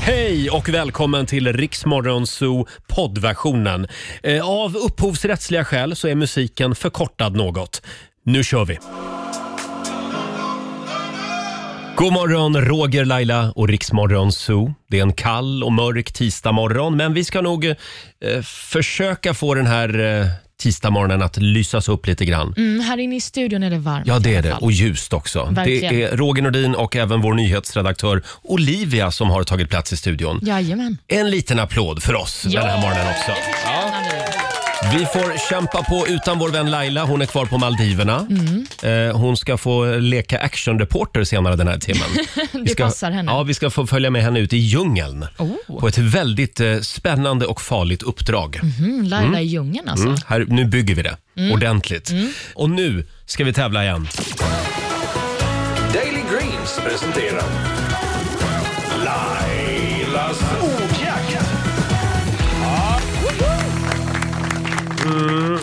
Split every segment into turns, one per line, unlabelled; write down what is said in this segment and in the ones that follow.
Hej och välkommen till Riksmorgon Zoo poddversionen. Eh, Av upphovsrättsliga skäl så är musiken förkortad något. Nu kör vi! God morgon, Roger, Laila och Riksmorgon Zoo. Det är en kall och mörk tisdagmorgon, men vi ska nog eh, försöka få den här eh, tisdagmorgonen att lysas upp lite grann.
Mm, här inne i studion är det varmt.
Ja, det
i
är
alla
det.
fall.
Och ljust också.
Verkligen.
Det är Roger Nordin och även vår nyhetsredaktör Olivia som har tagit plats i studion.
Jajamän.
En liten applåd för oss den här morgonen också.
Ja.
Vi får kämpa på utan vår vän Laila. Hon är kvar på Maldiverna.
Mm.
Eh, Hon ska få leka actionreporter senare den här timmen.
Det passar henne.
Ja, vi ska få följa med henne ut i djungeln.
Oh.
På ett väldigt eh, spännande och farligt uppdrag.
Mm, Laila i djungeln alltså.
Mm, här, nu bygger vi det
Mm.
ordentligt. Och nu ska vi tävla igen.
Daily Greens presenterar Lailas ordjakt.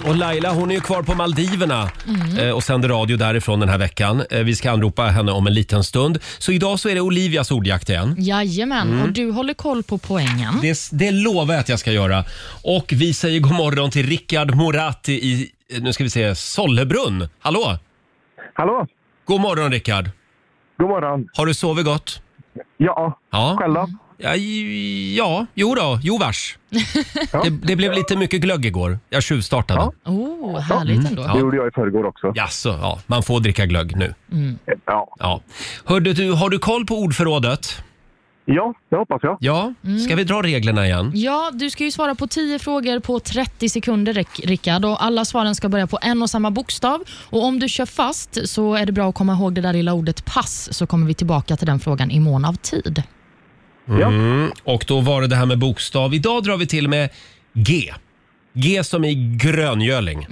Och Laila hon är ju kvar på Maldiverna
Mm.
eh, och sänder radio därifrån den här veckan. Eh, Vi ska anropa henne om en liten stund. Så idag så är det Olivias ordjakt igen.
Jajamän, och du håller koll på poängen.
Mm. Det, det lovar jag att jag ska göra. Och vi säger god morgon till Rickard Moratti i, nu ska vi se, Sollebrunn. Hallå!
Hallå!
God morgon Rickard!
God morgon.
Har du sovit gott?
Ja,
Ja.
själv då?
Ja, j- ja jo då, jo vars. det, det blev lite mycket glögg igår. Jag tjuvstartade. Ja.
Ja.
Oh, härligt
Mm.
ändå.
Det gjorde jag i förrgår också.
Jaså, ja, man får dricka glögg nu.
Ja,
Ja. Hörde du, har du koll på ordförrådet?
ja det hoppas jag.
Ja, ska vi dra reglerna igen?
Ja, du ska ju svara på 10 frågor på 30 sekunder, Rick- Rickard. Och alla svaren ska börja på en och samma bokstav. Och Om du kör fast så är det bra att komma ihåg det där lilla ordet pass, så kommer vi tillbaka till den frågan i mån av tid.
Mm. Och då var det det här med bokstav. Idag drar vi till med G. G som i gröngöling.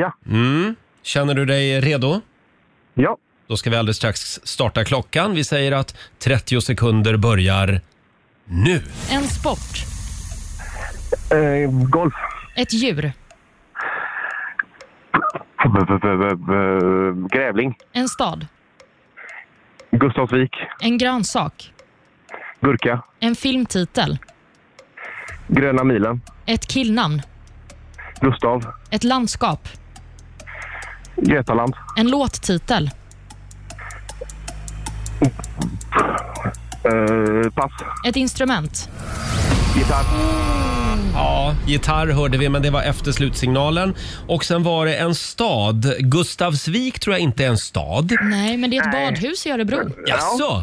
Ja,
Mm. Känner du dig redo?
ja.
Då ska vi alldeles strax starta klockan. Vi säger att 30 sekunder börjar nu.
En sport,
Eh, golf.
ett djur,
Grävling.
en stad,
Gustavsvik.
en grönsak,
Gurka.
en filmtitel,
Gröna milen.
ett killnamn,
Gustav.
ett landskap,
Götaland.
en låttitel,
Eh, pass.
ett instrument.
Gitarr.
Ja, gitarr hörde vi, men det var efter slutsignalen. Och sen var det en stad. Gustavsvik tror jag inte är en stad.
Nej, men det är ett badhus i Örebro.
Jaså?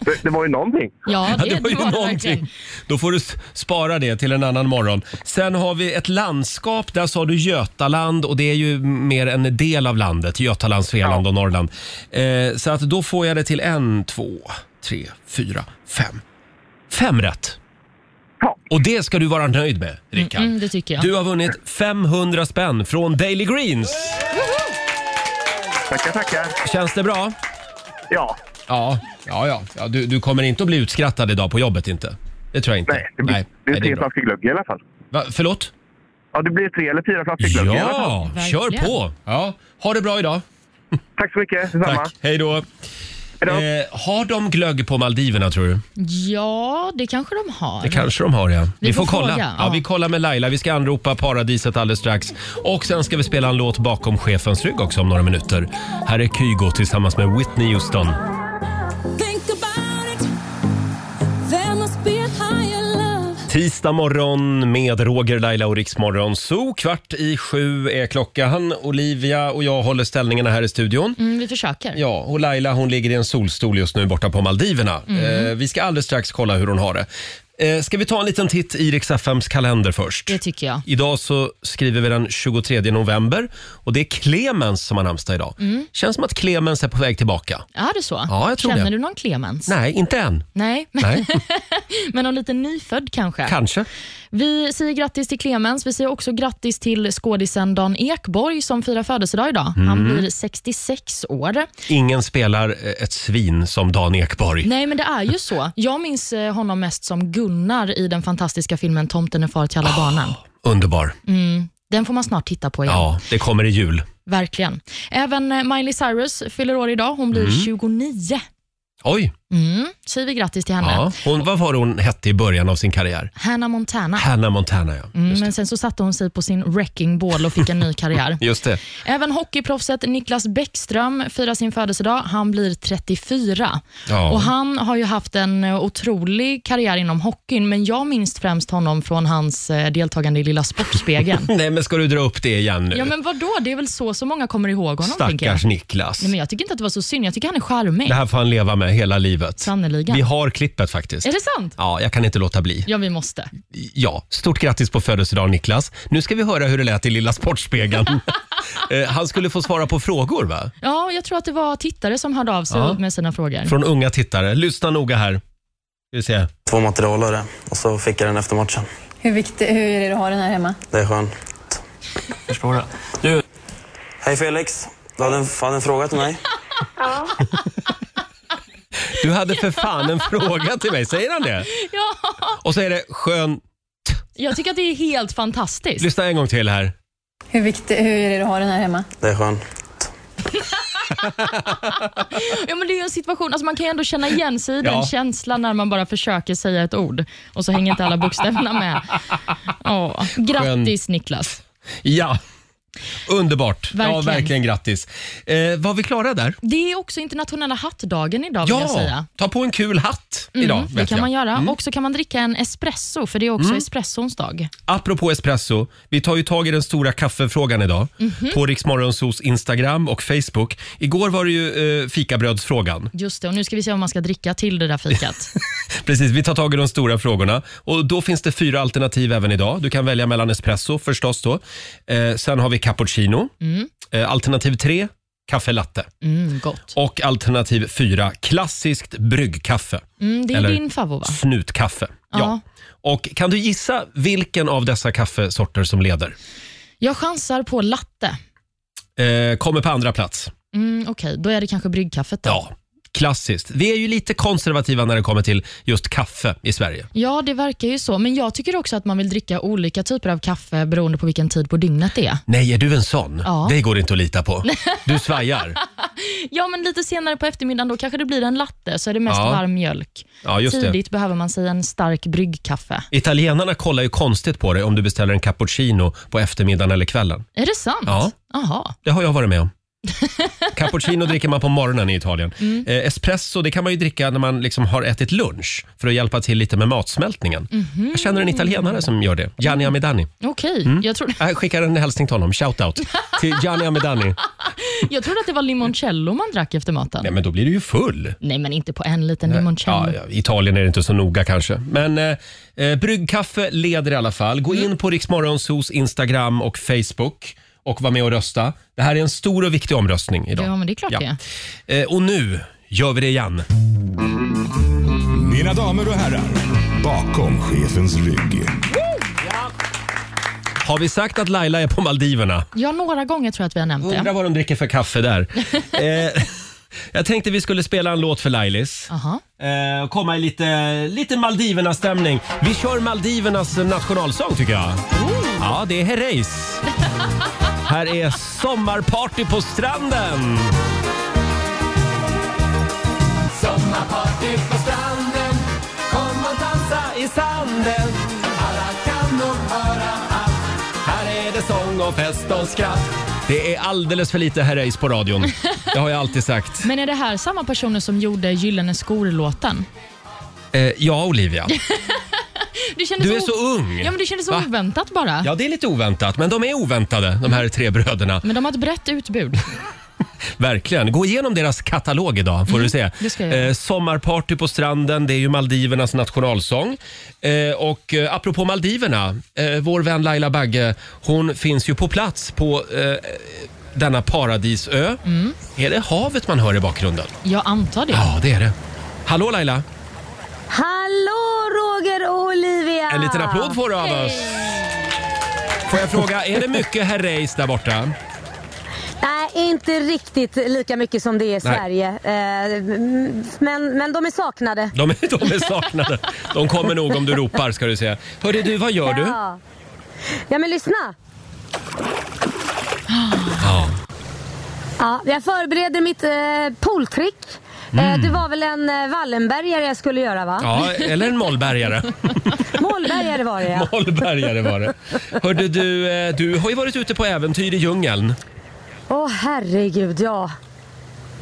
Det, det var ju någonting.
Ja, det,
Ja, det var ju
verkligen.
någonting. Då får du s- spara det till en annan morgon. Sen har vi ett landskap. Där sa du Götaland och det är ju mer en del av landet. Götaland, Svealand och Norrland. Eh, så att då får jag det till en, två, tre, fyra, fem. Fem rätt.
Ja.
Och det ska du vara nöjd med, Rickard.
Mm, det tycker jag.
Du har vunnit 500 spänn från Daily Greens.
Tackar, tackar.
Känns det bra?
Ja.
Ja, ja, ja. ja du, du kommer inte att bli utskrattad idag på jobbet inte. Det tror jag inte.
Nej, det blir, det är
Nej, det är
tre
bra.
flaskor glögg i alla fall.
Va, förlåt?
Ja, det blir tre eller fyra flaskor glögg i alla fall.
Ja,
Verkligen.
kör på! Ja. Ha det bra idag.
Tack så mycket. Detsamma.
Tack. Hej då.
Hej då.
Eh, har de glögg på Maldiverna tror du?
Ja, det kanske de har.
Det kanske de har ja. Vi,
Vi
får,
får
kolla.
fråga,
ja.
ja.
vi kollar med Laila. Vi ska anropa paradiset alldeles strax. Och sen ska vi spela en låt bakom chefens rygg också om några minuter. Här är Kygo tillsammans med Whitney Houston.
Think about it. There must be a higher love.
Tisdag morgon med Roger, Laila och Riksmorgon. Så kvart i sju är klockan. Olivia och jag håller ställningarna här i studion.
Mm, vi försöker.
Ja, och Laila hon ligger i en solstol just nu borta på Maldiverna.
Mm.
Eh, vi ska alldeles strax kolla hur hon har det. Eh, ska vi ta en liten titt i Rix FMs kalender först?
Det tycker jag.
Idag så skriver vi den 23 november och det är Clemens som har namnsdag idag.
Mm.
Känns som att Clemens är på väg tillbaka.
Är det så?
Ja, jag tror
Känner
det.
du någon Clemens?
Nej, inte än.
Nej.
Nej,
men någon liten nyfödd kanske?
kanske.
Vi säger grattis till Clemens. Vi säger också grattis till skådisen Dan Ekborg som firar födelsedag idag. Han
Mm.
blir 66 år.
Ingen spelar eh, ett svin som Dan Ekborg.
Nej, men det är ju så. Jag minns eh, honom mest som Gunnar i den fantastiska filmen Tomten är far till alla barnen.
Underbar.
Mm. Den får man snart titta på igen.
Ja, det kommer i jul. Mm.
Verkligen. Även eh, Miley Cyrus fyller år idag. Hon blir 29.
Oj,
Mm, säger vi grattis till henne.
ja. hon, vad var det hon hette i början av sin karriär?
Hannah Montana.
Hannah Montana, ja.
Ah. Mm, men sen så satte hon sig på sin wrecking ball och fick en ny karriär.
Just det.
Även hockeyproffset Niklas Bäckström firar sin födelsedag. Han blir 34.
Ja.
Och Han har ju haft en eh, otrolig karriär inom hockeyn, men jag minns främst honom från hans eh, deltagande i Lilla Sportspegeln.
Nej, men ska du dra upp det igen nu?
ja, men vadå? Det är väl så så många kommer ihåg honom? tänker jag.
Stackars Niklas.
Nej, men jag tycker inte att det var så synd. Jag tycker han är charmig.
Det här får han leva med hela livet.
Sannerligen.
Vi har klippet faktiskt.
Är det sant?
Ja, jag kan inte låta bli.
Ja, vi måste.
Ja, stort grattis på födelsedagen Niklas. Nu ska vi höra hur det lät i Lilla Sportspegeln. Eh, Han skulle få svara på frågor va?
Ja, jag tror att det var tittare som hörde av sig
Ja.
med sina frågor.
Från unga tittare. Lyssna noga här. Vi se.
två materialare och så fick jag den efter matchen.
Hur, viktig, hur är det att ha den här hemma?
Det är skönt.
Förstår det. Du,
Hej Felix! Du hade en, hade en fråga till mig.
Du hade för fan en fråga till mig, säger han det?
Ja,
Och så är det skön...
jag tycker att det är helt fantastiskt.
Lyssna en gång till här.
Hur, viktig, hur är det att ha den här hemma?
Det är skönt.
Ja, men det är ju en situation, alltså man kan ju ändå känna igen sig i den
Ja.
känslan när man bara försöker säga ett ord och så hänger inte alla bokstäverna med. Åh, grattis Niklas.
Ja. Underbart. Ja,
Verkligen.
verkligen grattis. Eh, var vi klara där?
Det är också internationella hattdagen idag vill jag
Ja,
säga.
ta på en kul hatt
Mm,
idag.
det
vet
kan
jag.
man göra. Och så kan man dricka en espresso, för det är också
Mm.
espressons dag.
Apropå espresso, vi tar ju tag i den stora kaffefrågan idag
Mhm.
på Riksmorgonsos Instagram och Facebook. Igår var det ju eh, fikabrödsfrågan.
Just det, och nu ska vi se vad man ska dricka till det där fikat.
Precis, vi tar tag i de stora frågorna och då finns det fyra alternativ även idag. Du kan välja mellan espresso förstås då. Eh, sen har vi cappuccino. Eh, alternativ tre, kaffe latte.
Mm, gott.
Och alternativ fyra, klassiskt bryggkaffe.
Mm, det är
Eller-
din favorit va?
Snutkaffe. Ja.
Ja.
Och kan du gissa vilken av dessa kaffesorter som leder?
Jag chansar på latte.
Eh, kommer på andra plats.
Mm, Okej, då är det kanske bryggkaffet då.
Ja, klassiskt. Vi är ju lite konservativa när det kommer till just kaffe i Sverige.
Ja, det verkar ju så. Men jag tycker också att man vill dricka olika typer av kaffe beroende på vilken tid på dygnet det är.
Nej, är du en sån?
Ja.
Det går inte att lita på. Du svajar.
Ja, men lite senare på eftermiddagen då kanske det blir en latte, så är det mest
Ja.
varm mjölk.
Ja, just det.
Tidigt behöver man sig en stark bryggkaffe.
Italienarna kollar ju konstigt på dig om du beställer en cappuccino på eftermiddagen eller kvällen.
Är det sant?
Ja.
Jaha.
Det har jag varit med om. Cappuccino dricker man på morgonen i Italien.
Mm.
Eh, espresso det kan man ju dricka när man liksom har ätit lunch för att hjälpa till lite med matsmältningen.
Mhm.
Jag känner en italienare som gör det. Gianni Amidani.
Okej,
Mm.
jag, trodde,
Jag skickar en hälsning till honom. Shoutout till Gianni Amidani.
jag trodde att det var limoncello man drack efter maten.
Nej, men då blir du ju full.
Nej, men inte på en liten limoncello.
Ja, ja, Italien är det inte så noga kanske. Men eh, eh, bryggkaffe leder i alla fall. Gå in på Riksmorgonsos Instagram och Facebook och var med och rösta. Det här är en stor och viktig omröstning idag.
Ja, men det är klart det är.
Eh, och nu gör vi det igen.
Mina damer och herrar, bakom chefens rygg.
Har vi sagt att Laila är på Maldiverna?
Ja, några gånger tror jag att vi har nämnt
Undrar
det.
vad de dricker för kaffe där. eh, jag tänkte vi skulle spela en låt för Lailis.
Aha.
Eh, och komma i lite, lite Maldiverna-stämning. Vi kör Maldivernas nationalsång tycker jag. Ja, det är Herreys. Här är Sommarparty på stranden. Sommarparty på stranden Kom och dansa i sanden Alla kan nog höra att Här är det sång och fest och skratt Det är alldeles för lite Herreys på radion. Det har jag alltid sagt.
Men är det här samma personer som gjorde Gyllene skor-låten?
Eh, ja, Olivia.
Det kändes
Du är
o-
så ung.
Ja, men det kändes
Va?
oväntat bara.
Ja, det är lite oväntat, men de är oväntade, de här tre bröderna.
Men de har ett brett utbud.
Verkligen. Gå igenom deras katalog idag, får du se.
Mm,
Eh,
det ska jag göra.
sommarparty på stranden, det är ju Maldivernas nationalsång. Eh, och eh, apropå Maldiverna, eh, vår vän Laila Bagge, hon finns ju på plats på eh, denna paradisö.
Mm.
Är det havet man hör i bakgrunden?
Jag antar det.
Ja, det är det. Hallå Laila!
Hallå Roger och Olivia!
En
Ah,
liten applåd får du av oss. Får jag fråga, är det mycket herreys där borta?
Nej, inte riktigt lika mycket som det är i
Nej.
Sverige. Eh, m- men, men de är saknade.
De, är- de är saknade. De kommer nog om du ropar ska du se. Hörde du, vad gör du?
Ja. ja, men lyssna.
Ja.
Ja, jag förbereder mitt eh, pooltrick.
Mm.
Eh, Det var väl en eh, Wallenbergare jag skulle göra va?
Ja, eller en mollbergare.
Målbergare var det ja.
mollbergare var det. Hörde du, eh, du har ju varit ute på äventyr i djungeln.
Åh herregud ja.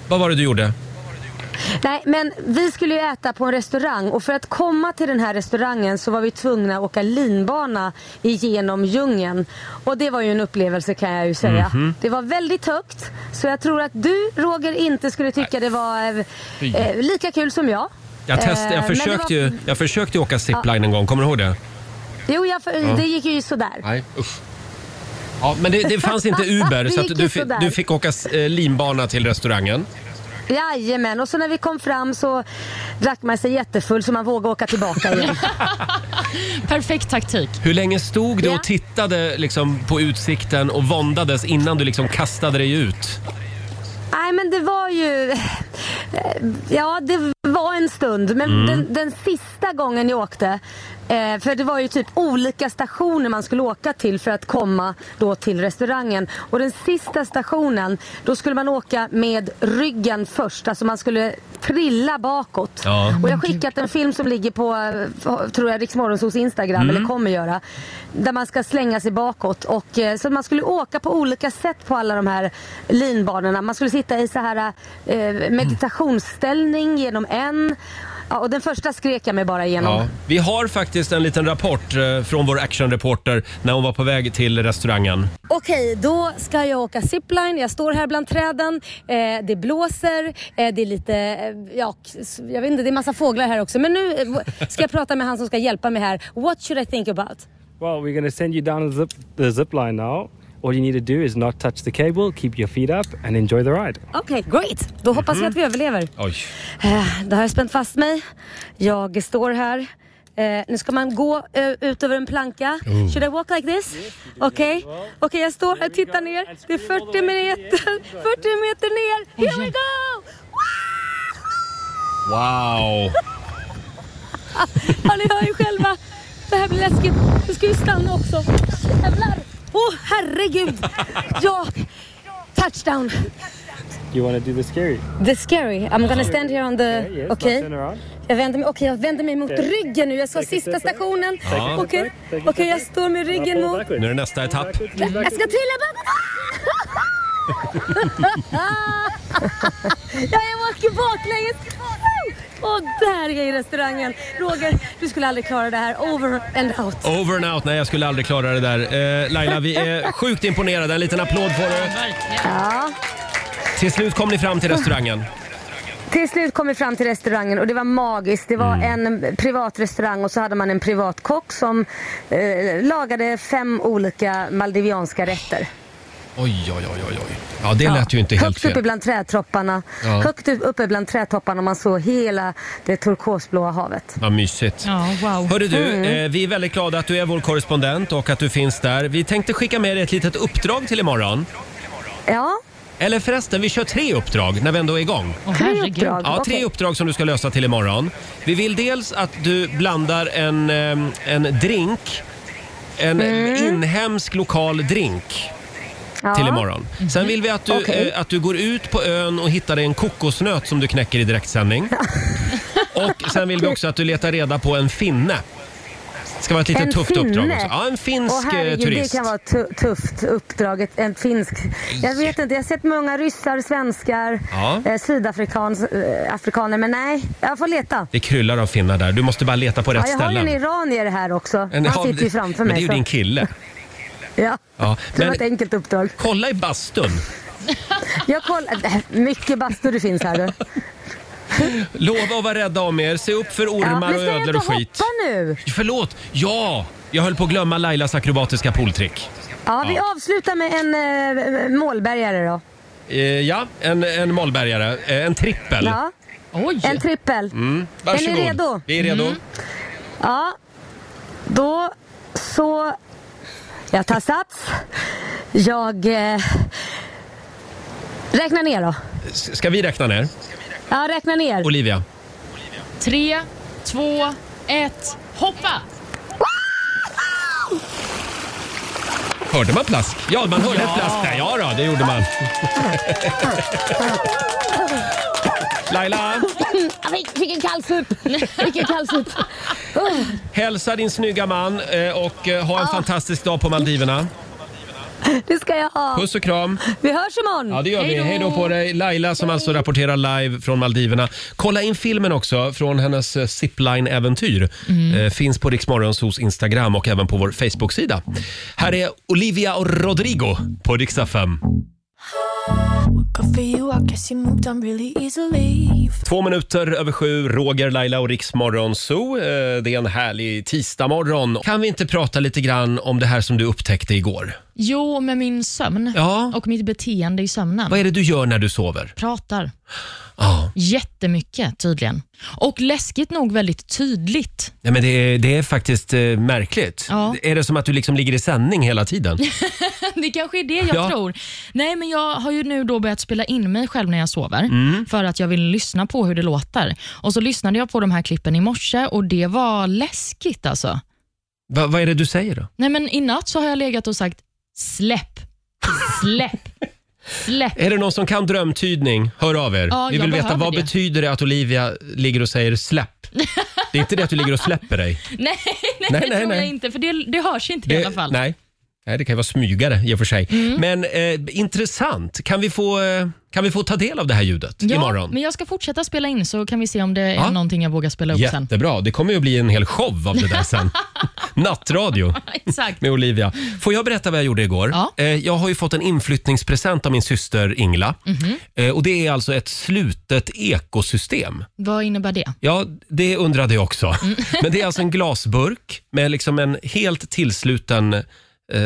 Vad var det du gjorde?
Nej, men vi skulle ju äta på en restaurang och för att komma till den här restaurangen så var vi tvungna att åka linbana igenom djungeln. Och det var ju en upplevelse kan jag ju säga.
Mhm.
Det var väldigt högt, så jag tror att du Roger inte skulle tycka det var eh,
Fy.
eh, lika kul som jag.
Jag, test,
Eh,
jag,
men det
försökte
var-
ju, jag försökte ju åka zipline en gång, kommer du ihåg det?
Jo, jag, det gick ju sådär.
Nej, usch. Ja, men det, det fanns inte Uber
Det
så att
gick
du,
ju
fi-
sådär.
du fick åka s- eh, linbana till restaurangen.
Jajamän, och så när vi kom fram så drack man sig jättefull så man vågade åka tillbaka igen.
Perfekt taktik.
Hur länge stod du
Ja.
och tittade liksom, på utsikten och våndades innan du liksom kastade dig ut?
Nej men det var ju... eh, Ja det var en stund men den, den sista gången jag åkte eh, för det var ju typ olika stationer man skulle åka till för att komma då till restaurangen. Och den sista stationen, då skulle man åka med ryggen först. Alltså man skulle trilla bakåt.
Ja.
Och jag har skickat en film som ligger på, eh, tror jag, Riksmorgonsos Instagram, eller kommer göra. Där man ska slänga sig bakåt. Och, eh, så man skulle åka på olika sätt på alla de här linbanorna. Man skulle sitta i så här eh, meditationsställning genom en. Ja, och den första skrek jag mig bara igenom.
Ja. Vi har faktiskt en liten rapport eh, från vår actionreporter när hon var på väg till restaurangen.
Okej, då ska jag åka zipline. Jag står här bland träden. Eh, det blåser. Eh, det är lite, eh, ja, k- s- jag vet inte, det är massa fåglar här också. Men nu eh, w- ska jag prata med han som ska hjälpa mig här. What should I think about?
Well, we're going to send you down the zip, the zip line now. All you need to do is not touch the cable, keep your feet up, and enjoy the ride.
Okej, great. Då hoppas jag att vi överlever.
Oj.
Eh, då har jag spänt fast mig. Jag står här. Eh, nu ska man gå eh, ut över en planka. Should I walk like this? Okej, Okej, jag står här och tittar ner. Det är 40 meter, 40 meter ner. Here we go!
Wow!
Ja, ni hör ju själva. Det här blir läskigt. Nu ska vi stanna också. Jävlar! Åh, oh, herregud! Ja! Touchdown!
You want to do the scary?
The scary. I'm gonna stand here on the...
Yes, now
Eh, Okej.
turn around.
Jag vänder mig, okej, jag vänder mig mot
Yeah.
ryggen nu. Jag sa sista
step back.
stationen.
Ja.
Okej,
Take a step
okej, jag
back.
står med
Now
ryggen
fall
mot...
backwards.
Nu är det nästa etapp.
Backwards, lean
Jag
backwards.
ska trilla bakåt! Ah! ja, jag åker baklänges. Och där är jag i restaurangen. Roger, du skulle aldrig klara det här. Over and out.
Over and out. Nej, jag skulle aldrig klara det där. Eh, Laila, vi är sjukt imponerade. En liten applåd får du.
Ja.
Till slut kom ni fram till restaurangen.
Till slut kom vi fram till restaurangen och det var magiskt. Det var en privat restaurang och så hade man en privat kock som eh, lagade fem olika maldivianska rätter.
Oj, oj, oj, oj. oj. Ja, det lät ju inte helt
Högt uppe
fel.
bland trädtopparna.
Ja.
Högt upp- uppe bland trädtopparna man såg hela det turkosblåa havet.
Vad mysigt.
Ja, wow.
Hörru du, eh, vi är väldigt glada att du är vår korrespondent och att du finns där. Vi tänkte skicka med dig ett litet uppdrag till imorgon.
Ja,
Eller förresten, vi kör tre uppdrag när vi ändå är igång.
Åh,
tre
herregud.
uppdrag.
Ja, tre
Okej.
uppdrag som du ska lösa till imorgon. Vi vill dels att du blandar en, eh, en drink, en inhemsk lokal drink
Mm. ja. Mm.
till imorgon. Sen vill vi att du,
Okej.
eh, att du går ut på ön och hittar dig en kokosnöt som du knäcker i direktsändning. och sen vill vi också att du letar reda på en finne. Det ska vara ett lite
En
tufft uppdrag
finne?
också. Ja, en finsk
Åh
eh,
herregud,
turist.
det kan vara tu- tufft uppdraget. En finsk. Jag vet inte, jag har sett många ryssar, svenskar,
Ja.
eh, sydafrikaner, eh, afrikaner, men nej. Jag får leta.
Det kryllar av finnar där. Du måste bara leta på rätt
Ja, jag har ju
ställen.
en iranier här också.
En-
Han
ja,
sitter ju framför
men
mig.
det är ju din kille.
så. Ja.
Ja,
Det var
men-
ett enkelt uppdrag.
Kolla i bastun.
Jag kollar. Mycket bastu det finns här du.
Lova att vara rädda om er. Se upp för
Ja,
ormar
men
och
säg
ödlor
inte
och skit.
hoppa nu.
Förlåt! Ja! Jag höll på att glömma Lailas akrobatiska pooltrick.
Ja, vi
Ja.
avslutar med en eh, målbergare då.
Eh, ja, en, en mollbergare. Eh, en trippel.
Ja,
Oj.
en trippel.
Mm. Varsågod.
Är ni redo? Mm.
Vi är redo.
Ja, då så... Jag tar sats. Jag eh, räknar ner då.
S- Ska vi räkna ner?
Ja, räkna ner.
Olivia?
Tre, två, ett, hoppa!
Hörde man plask? Ja, man hörde ett plask där. Ja då, det gjorde man. Laila,
Jag fick, fick en Mm, kallsup. Fick en kallsup. Oh,
hälsa din snygga man eh, och eh, ha en fantastisk dag på Maldiverna.
det ska jag ha.
Puss och kram.
Vi hörs imorgon.
Ja, det gör vi.
Hej då.
Hej då på dig. Laila som alltså rapporterar live från Maldiverna. Kolla in filmen också från hennes eh, zipline-äventyr. Eh, finns på Riksmorgonsos Instagram och även på vår Facebook-sida. Här är Olivia och Rodrigo på Riksdag 5. Två minuter över sju, Roger, Laila och Riksmorgon Zoo. Eh, Det är en härlig tisdagmorgon. Kan vi inte prata lite grann om det här som du upptäckte igår?
Jo, med min sömn
Ja.
och mitt beteende i sömnen.
Vad är det du gör när du sover?
Pratar
Ja,
jättemycket tydligen. Och läskigt nog väldigt tydligt.
Nej, men det, är, det är faktiskt eh, märkligt.
Ja.
Är det som att du liksom ligger i sändning hela tiden?
Det kanske är det jag
Ja.
tror. Nej, men jag har ju nu då börjat spela in mig själv när jag sover
Mm.
för att jag vill lyssna på hur det låter. Och så lyssnade jag på de här klippen i morse och det var läskigt alltså.
Va, vad är det du säger då?
Nej, men i natt så har jag legat och sagt släpp, släpp, släpp.
Är det någon som kan drömtydning? Hör av er.
Ja,
Vi
jag
vill veta
behöver
vad
det.
betyder det att Olivia ligger och säger släpp? Det är inte det att du ligger och släpper dig.
Nej, nej,
Nej,
det
nej,
tror
nej.
jag inte, för det, det hörs inte
Det-
i alla fall. Mm.
Nej. nej, det kan ju vara smygare i och för sig. Men eh, intressant. Kan vi, få, eh, kan vi få ta del av det här ljudet
Ja,
imorgon?
men jag ska fortsätta spela in så kan vi se om det är
Ja.
någonting jag vågar spela upp sen.
Jättebra. Det kommer ju att bli en hel show av det där sen. Nattradio.
Exakt.
med Olivia. Får jag berätta vad jag gjorde igår?
Ja.
Eh, Jag har ju fått en inflyttningspresent av min syster Ingla.
Mhm.
Eh, Och Det är alltså ett slutet ekosystem.
Vad innebär det?
Ja, det undrade jag också. Men det är alltså en glasburk med liksom en helt tillsluten eh,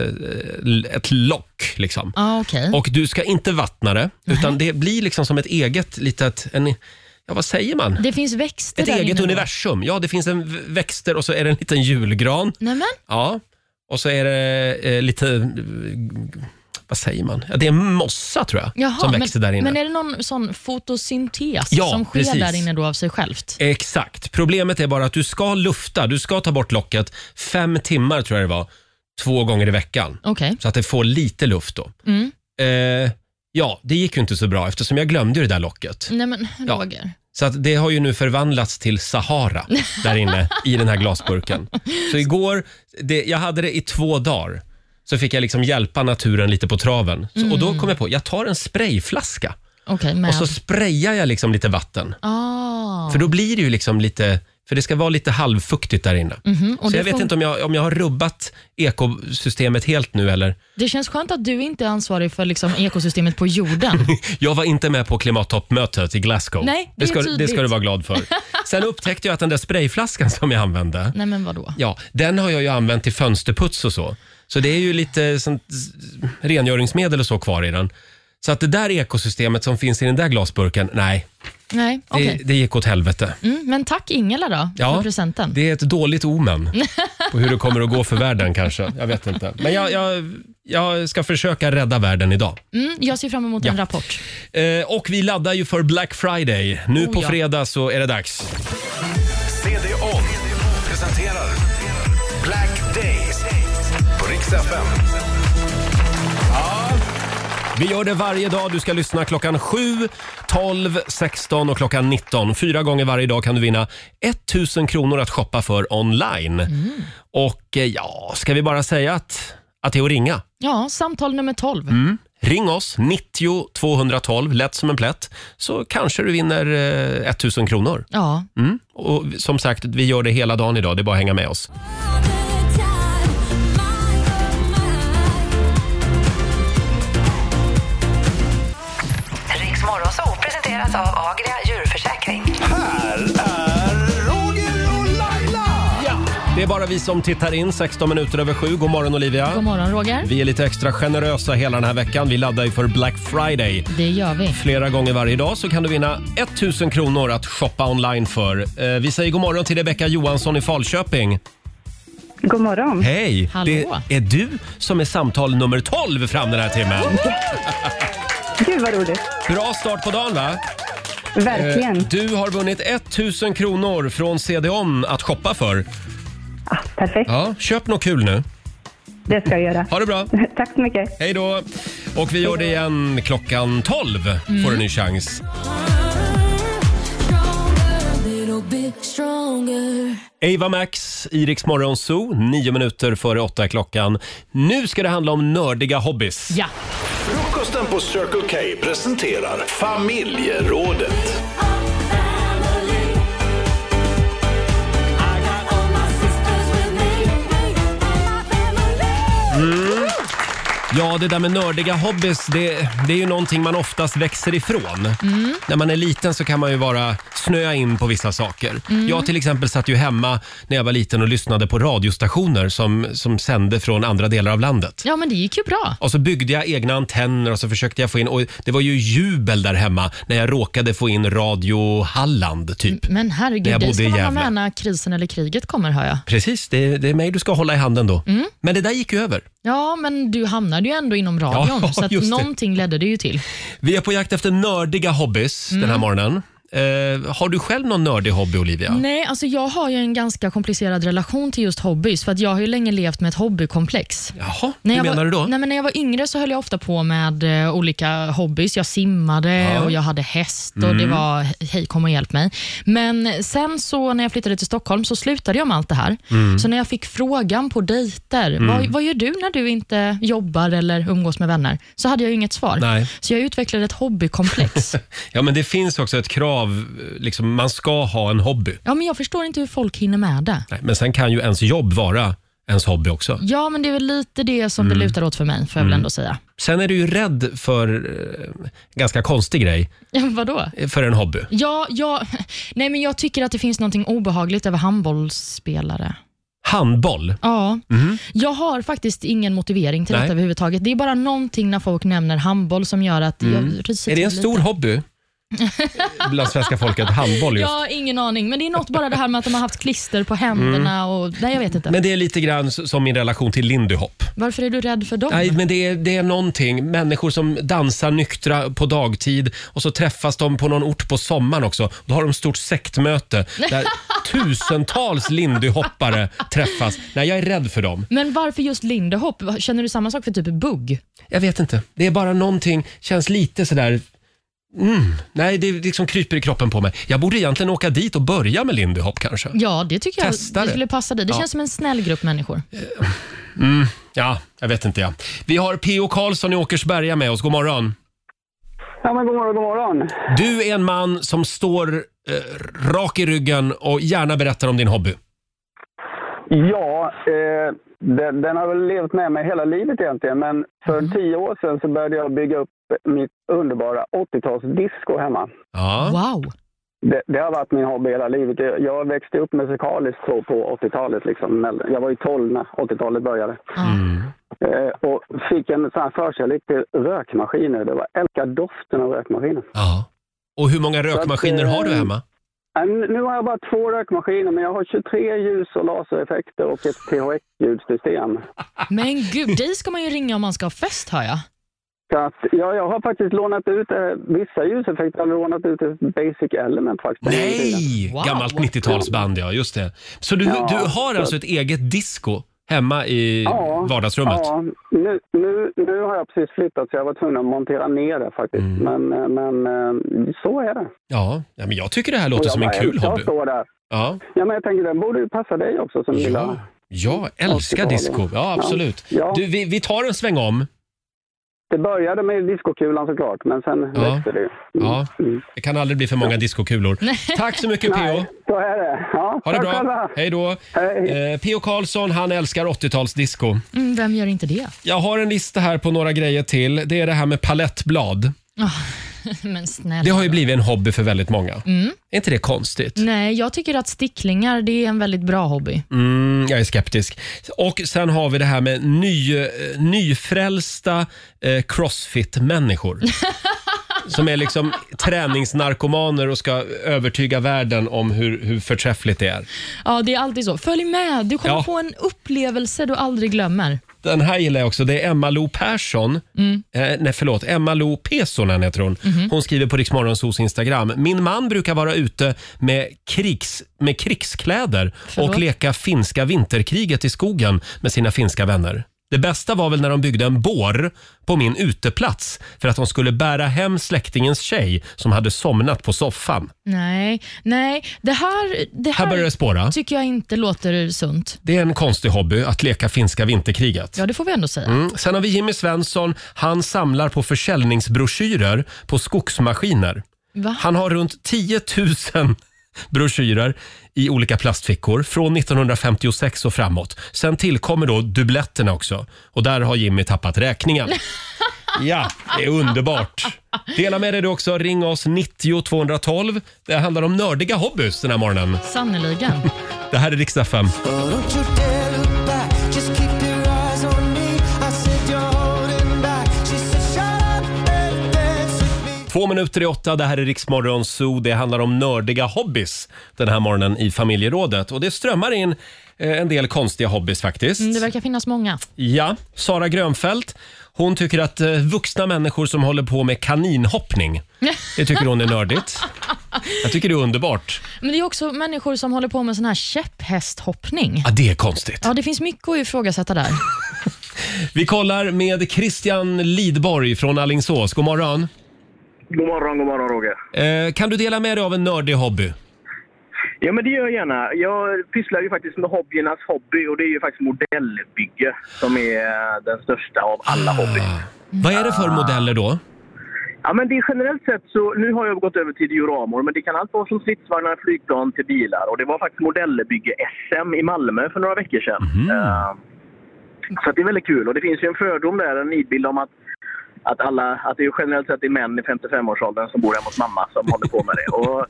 l- ett lock. Liksom.
Ah, okay.
Och du ska inte vattna det, utan det blir liksom som ett eget litet... En, ja, vad säger man?
Det finns växter
Ett
där
eget
inne då.
universum. Ja, det finns en v- växter och så är det en liten julgran.
Nämen,
Ja, och så är det eh, lite... eh, Vad säger man? Ja, det är mossa tror jag
Jaha,
som växer
men,
där inne.
Men är det någon sån fotosyntes
Ja,
som sker
precis.
där inne då av sig självt?
Exakt. Problemet är bara att du ska lufta, du ska ta bort locket fem timmar tror jag det var, två gånger i veckan.
Okej.
Så att det får lite luft då.
Mm.
Eh, ja, det gick ju inte så bra eftersom jag glömde ju det där locket.
Nej men
Ja.
Roger.
Så att det har ju nu förvandlats till Sahara där inne i den här glasburken. Så igår, det, jag hade det i två dagar. Så fick jag liksom hjälpa naturen lite på traven. Så, Och då kom jag på, jag tar en sprayflaska
Okej, men...
och så sprayar jag liksom lite vatten.
ah.
För då blir det ju liksom lite, för det ska vara lite halvfuktigt där inne.
Mhm, och
Så
det,
jag vet
fun-
inte om jag, om jag har rubbat ekosystemet helt nu eller?
det känns skönt att du inte är ansvarig för liksom, ekosystemet på jorden.
Jag var inte med på klimattoppmötet i Glasgow.
Nej, det är
ska, det
tydligt.
ska du vara glad för. Sen upptäckte jag att den där sprayflaskan som jag använde,
Nej men vadå?
Ja, den har jag ju använt till fönsterputs och så. Så det är ju lite sånt s- rengöringsmedel och så kvar i den. Så att det där ekosystemet som finns i den där glasburken, nej,
Nej,
det,
okej.
det gick åt helvete.
Mm, men tack Ingela då,
Ja,
för presenten.
Det är ett dåligt omen på hur det kommer att gå för världen kanske. Jag vet inte. Men jag, jag, jag ska försöka rädda världen idag.
Mm, jag ser fram emot en
Ja.
rapport.
Eh, och vi laddar ju för Black Friday. Nu
Oh,
på
ja.
fredag så är det dags.
CD-ON presenterar Black Days på Rix FM.
Vi gör det varje dag. Du ska lyssna klockan 7, 12, 16 och klockan 19. Fyra gånger varje dag kan du vinna 1000 kronor att shoppa för online.
Mm.
Och eh, ja, ska vi bara säga att, att det är att ringa?
Ja, samtal nummer 12.
Mm. Ring oss, 90 212, lätt som en plätt, så kanske du vinner eh, 1000 kronor.
Ja,
Mm. Och som sagt, vi gör det hela dagen idag. Det är bara att hänga med oss.
All the time, my oh my.
Riks Morgonzoo presenteras av Agria djurförsäkring.
Här är Roger och Laila!
Det är bara vi som tittar in, 16 minuter över 7. God morgon Olivia.
god morgon Roger.
Vi är lite extra generösa hela den här veckan. Vi laddar ju för Black Friday.
Det gör vi.
Flera gånger varje dag så kan du vinna 1000 kronor att shoppa online för. Eh, Vi säger god morgon till Rebecka Johansson i Falköping.
God morgon.
Hej!
Hallå.
Det är du som är samtal nummer 12 fram den här timmen.
Gud vad roligt.
Bra start på dagen va? Eh,
Verkligen.
Du har vunnit 1000 kronor från CDON att shoppa för.
Ah, perfekt.
Ja, köp något kul nu.
Det ska jag göra.
Ha det bra!
Tack så mycket.
Hej då!
Mm.
Och vi gör det igen klockan 12 får du en ny chans. Ava Max, Iriks morgonzoo, nio minuter före åtta är klockan. Nu ska det handla om nördiga hobbys.
Ja.
Frukosten på Circle K presenterar familjerådet.
Mm. Ja, det där med nördiga hobbys, det, det är ju någonting man oftast växer ifrån.
Mm.
När man är liten så kan man ju bara snöa in på vissa saker.
Mm.
Jag till exempel satt ju hemma när jag var liten och lyssnade på radiostationer som, som sände från andra delar av landet.
Ja, men det gick ju bra.
Och så byggde jag egna antenner och så försökte jag få in, och det var ju jubel där hemma när jag råkade få in Radio Halland typ.
Mm, Men
När
herregud,
jag
dig
bodde i
ska man ha
Gävle.
med när krisen eller kriget kommer, hör jag.
Precis, det, det är mig du ska hålla i handen då.
Mm.
Men det där gick ju över.
Ja, men du hamnade ju ändå inom radion,
Ja,
så att
just det.
någonting ledde det ju till.
Vi är på jakt efter nördiga hobbys den här
Mm.
morgonen. Eh, har du själv någon nördig hobby, Olivia?
Nej, alltså jag har ju en ganska komplicerad relation till just hobbys, för att jag har ju länge levt med ett hobbykomplex.
Jaha,
när
hur
jag
menar
var,
du då?
Nej, men när jag var yngre så höll jag ofta på med eh, olika hobbys. Jag simmade
Ja.
och jag hade häst och
Mm.
det var hej kom och hjälp mig. Men sen så när jag flyttade till Stockholm så slutade jag med allt det här.
Mm.
Så när jag fick frågan på dejter,
Mm.
vad, vad gör du när du inte jobbar eller umgås med vänner? Så hade jag ju inget svar.
Nej.
Så jag utvecklade ett hobbykomplex.
Ja, men det finns också ett krav, liksom, man ska ha en hobby.
ja, men jag förstår inte hur folk hinner med det.
Nej, men sen kan ju ens jobb vara ens hobby också.
Ja, men det är väl lite det som
Mm.
det lutar åt för mig, får jag väl
Mm.
ändå säga.
Sen är du ju rädd för eh, ganska konstig grej,
Vadå?
eh, för en hobby.
Ja, ja, nej men jag tycker att det finns något obehagligt över handbollsspelare.
Handboll.
Ja.
Mhm.
Jag har faktiskt ingen motivering till
Nej.
detta överhuvudtaget. Det är bara någonting när folk nämner handboll som gör att
Mm.
jag ryser
Är det
till
en
lite.
stor hobby bland svenska folket? Handboll just.
Jag har ingen aning, men det är något bara det här med att de har haft klister på händerna. Och, nej, jag vet inte.
Mm. Men det är lite grann s- som min relation till lindy hop.
Varför är du rädd för dem?
Nej, men det är, det är någonting. Människor som dansar nyktra på dagtid och så träffas de på någon ort på sommaren också. Då har de stort sektmöte där tusentals lindyhoppare träffas. Nej, jag är rädd för dem.
Men varför just lindehopp? Känner du samma sak för typ bugg?
Jag vet inte. Det är bara någonting, känns lite sådär... Mm. Nej, det liksom kryper i kroppen på mig. Jag borde egentligen åka dit och börja med lindyhopp kanske.
Ja, det tycker jag
Testa det.
det skulle passa dig. Det
Ja.
känns som en snäll grupp människor.
Mm. Ja, jag vet inte ja. Vi har P.O. Karlsson i Åkersberga med oss. God morgon.
Ja, men god morgon, god morgon.
Du är en man som står eh, rak i ryggen och gärna berättar om din hobby.
Ja, eh, den, den har väl levt med mig hela livet egentligen, men för tio år sedan så började jag bygga upp mitt underbara 80-talsdisco hemma.
Mm.
Wow!
Det, det har varit min hobby hela livet. Jag- Jag växte upp musikaliskt så på 80-talet. Liksom. Mell- Jag var ju 12 när 80-talet började. Eh, och fick en sån här förkärlek till rökmaskiner. Det var älskar doften av rökmaskiner.
Ja. Och hur många
Så att,
rökmaskiner har du
eh,
hemma?
Ja, Nu nu har jag bara två rökmaskiner, men jag har 23 ljus och lasereffekter och ett THX-ljudsystem.
Men gud, dig ska man ju ringa om man ska ha fest, hör jag.
Så att, ja, jag har faktiskt lånat ut eh, vissa ljuseffekter. Jag har lånat ut ett Basic Element faktiskt.
Nej! Gammalt 90-talsband ja, just det. Så du,
Ja,
du har
så-
alltså ett eget disco hemma i
Ja,
vardagsrummet?
Ja, nu, nu, nu har jag precis flyttat så jag var tvungen att montera ner det faktiskt.
Mm.
Men, eh, men eh, så är det.
Ja, ja men jag tycker det här
Och
låter
jag
som en
bara
kul
älskar att
hobby.
stå där.
Ja,
Ja, men jag tänker den borde ju passa dig också som gillar...
jag älskar disco. Ja, absolut.
Ja.
Du, vi, vi tar en sväng om.
Det började med discokulan såklart, men sen
Ja.
växte det ju. Mm.
Ja, det kan aldrig bli för många discokulor. Tack så mycket P.O.
Så är det. Ja,
Ha det
tack
bra.
själva.
Hej då. Eh, P.O. Karlsson, han älskar 80-talsdisco.
Mm, vem gör inte det?
Jag har en lista här på några grejer till. Det är det här med palettblad.
Ah, Men snälla.
Det har ju blivit en hobby för väldigt många.
Mm.
Är inte det konstigt?
Nej, jag tycker att sticklingar det är en väldigt bra hobby.
Mm, jag är skeptisk. Och sen har vi det här med ny, eh, nyfrälsta eh, crossfit-människor. som är liksom träningsnarkomaner och ska övertyga världen om hur, hur förträffligt det är.
Ja, det är alltid så. Följ med, du kommer
Ja.
få en upplevelse du aldrig glömmer.
Den här gillar jag också. Det är Emma Lo Persson.
Mm.
Eh, nej, förlåt. Emma Lo Pesonen heter hon.
Mhm.
Hon skriver på Riksmorgonsos Instagram. Min man brukar vara ute med, krigs, med krigskläder
Förlåt?
och leka finska vinterkriget i skogen med sina finska vänner. Det bästa var väl när de byggde en bår på min uteplats för att de skulle bära hem släktingens tjej som hade somnat på soffan.
Nej, nej. Det här, det
Här
här,
börjar det spåra.
tycker jag inte låter sunt.
Det är en konstig hobby att leka finska vinterkriget.
Ja, det får vi ändå säga.
Mm. Sen har vi Jimmy Svensson. Han samlar på försäljningsbroschyrer på skogsmaskiner.
Va?
Han har runt 10 000 broschyrer i olika plastfickor från 1956 och framåt. Sen tillkommer då dubletterna också och där har Jimmy tappat räkningen. Ja, det är underbart. Dela med dig du också. Ring oss 90 212. Det handlar om nördiga hobbys den här morgonen.
Sannerligen.
Det här är riksdag 5. Två minuter i åtta, det här är Riksmorgon Zoo. Det handlar om nördiga hobbys den här morgonen i familjerådet. Och det strömmar in eh, en del konstiga hobbys faktiskt.
Mm, Det verkar finnas många.
Ja, Sara Grönfeldt. Hon tycker att eh, vuxna människor som håller på med kaninhoppning, det tycker hon är nördigt. Jag tycker det är underbart.
Men det är också människor som håller på med sån här käpphästhoppning.
Ja, det är konstigt.
Ja, det finns mycket att ifrågasätta där.
Vi kollar med Christian Lidborg från Alingsås. God morgon.
God morgon, god morgon Roger.
Eh, kan du dela med dig av en nördig hobby?
Ja men det gör jag gärna. Jag pysslar ju faktiskt med hobbyernas hobby och det är ju faktiskt modellbygge som är eh, den största av alla hobbyer.
Ah. Vad är det för modeller då? Mm.
Ja men det är generellt sett så, nu har jag gått över till dioramor men det kan allt vara från stridsvagnar, flygplan till bilar och det var faktiskt modellbygge-SM i Malmö för några veckor sedan. Eh, Så att det är väldigt kul och det finns ju en fördom där, en nidbild om att att, alla, att det är ju generellt sett det är män i 55-årsåldern som bor hemma hos mamma som håller på med det. Och,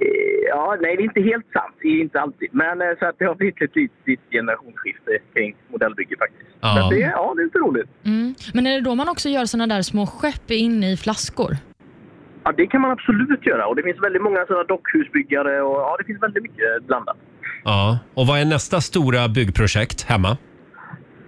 eh, ja, nej, det är inte helt sant. Det är inte alltid. Men eh, så att det har blivit ett litet generationsskifte kring modellbygge faktiskt.
Ja.
Så att det, är- ja, det är lite roligt.
Mm. Men är det då man också gör såna där små skepp inne i flaskor?
Ja, det kan man absolut göra. Och det finns väldigt många sådana dockhusbyggare och ja, det finns väldigt mycket blandat.
Ja, och vad är nästa stora byggprojekt hemma?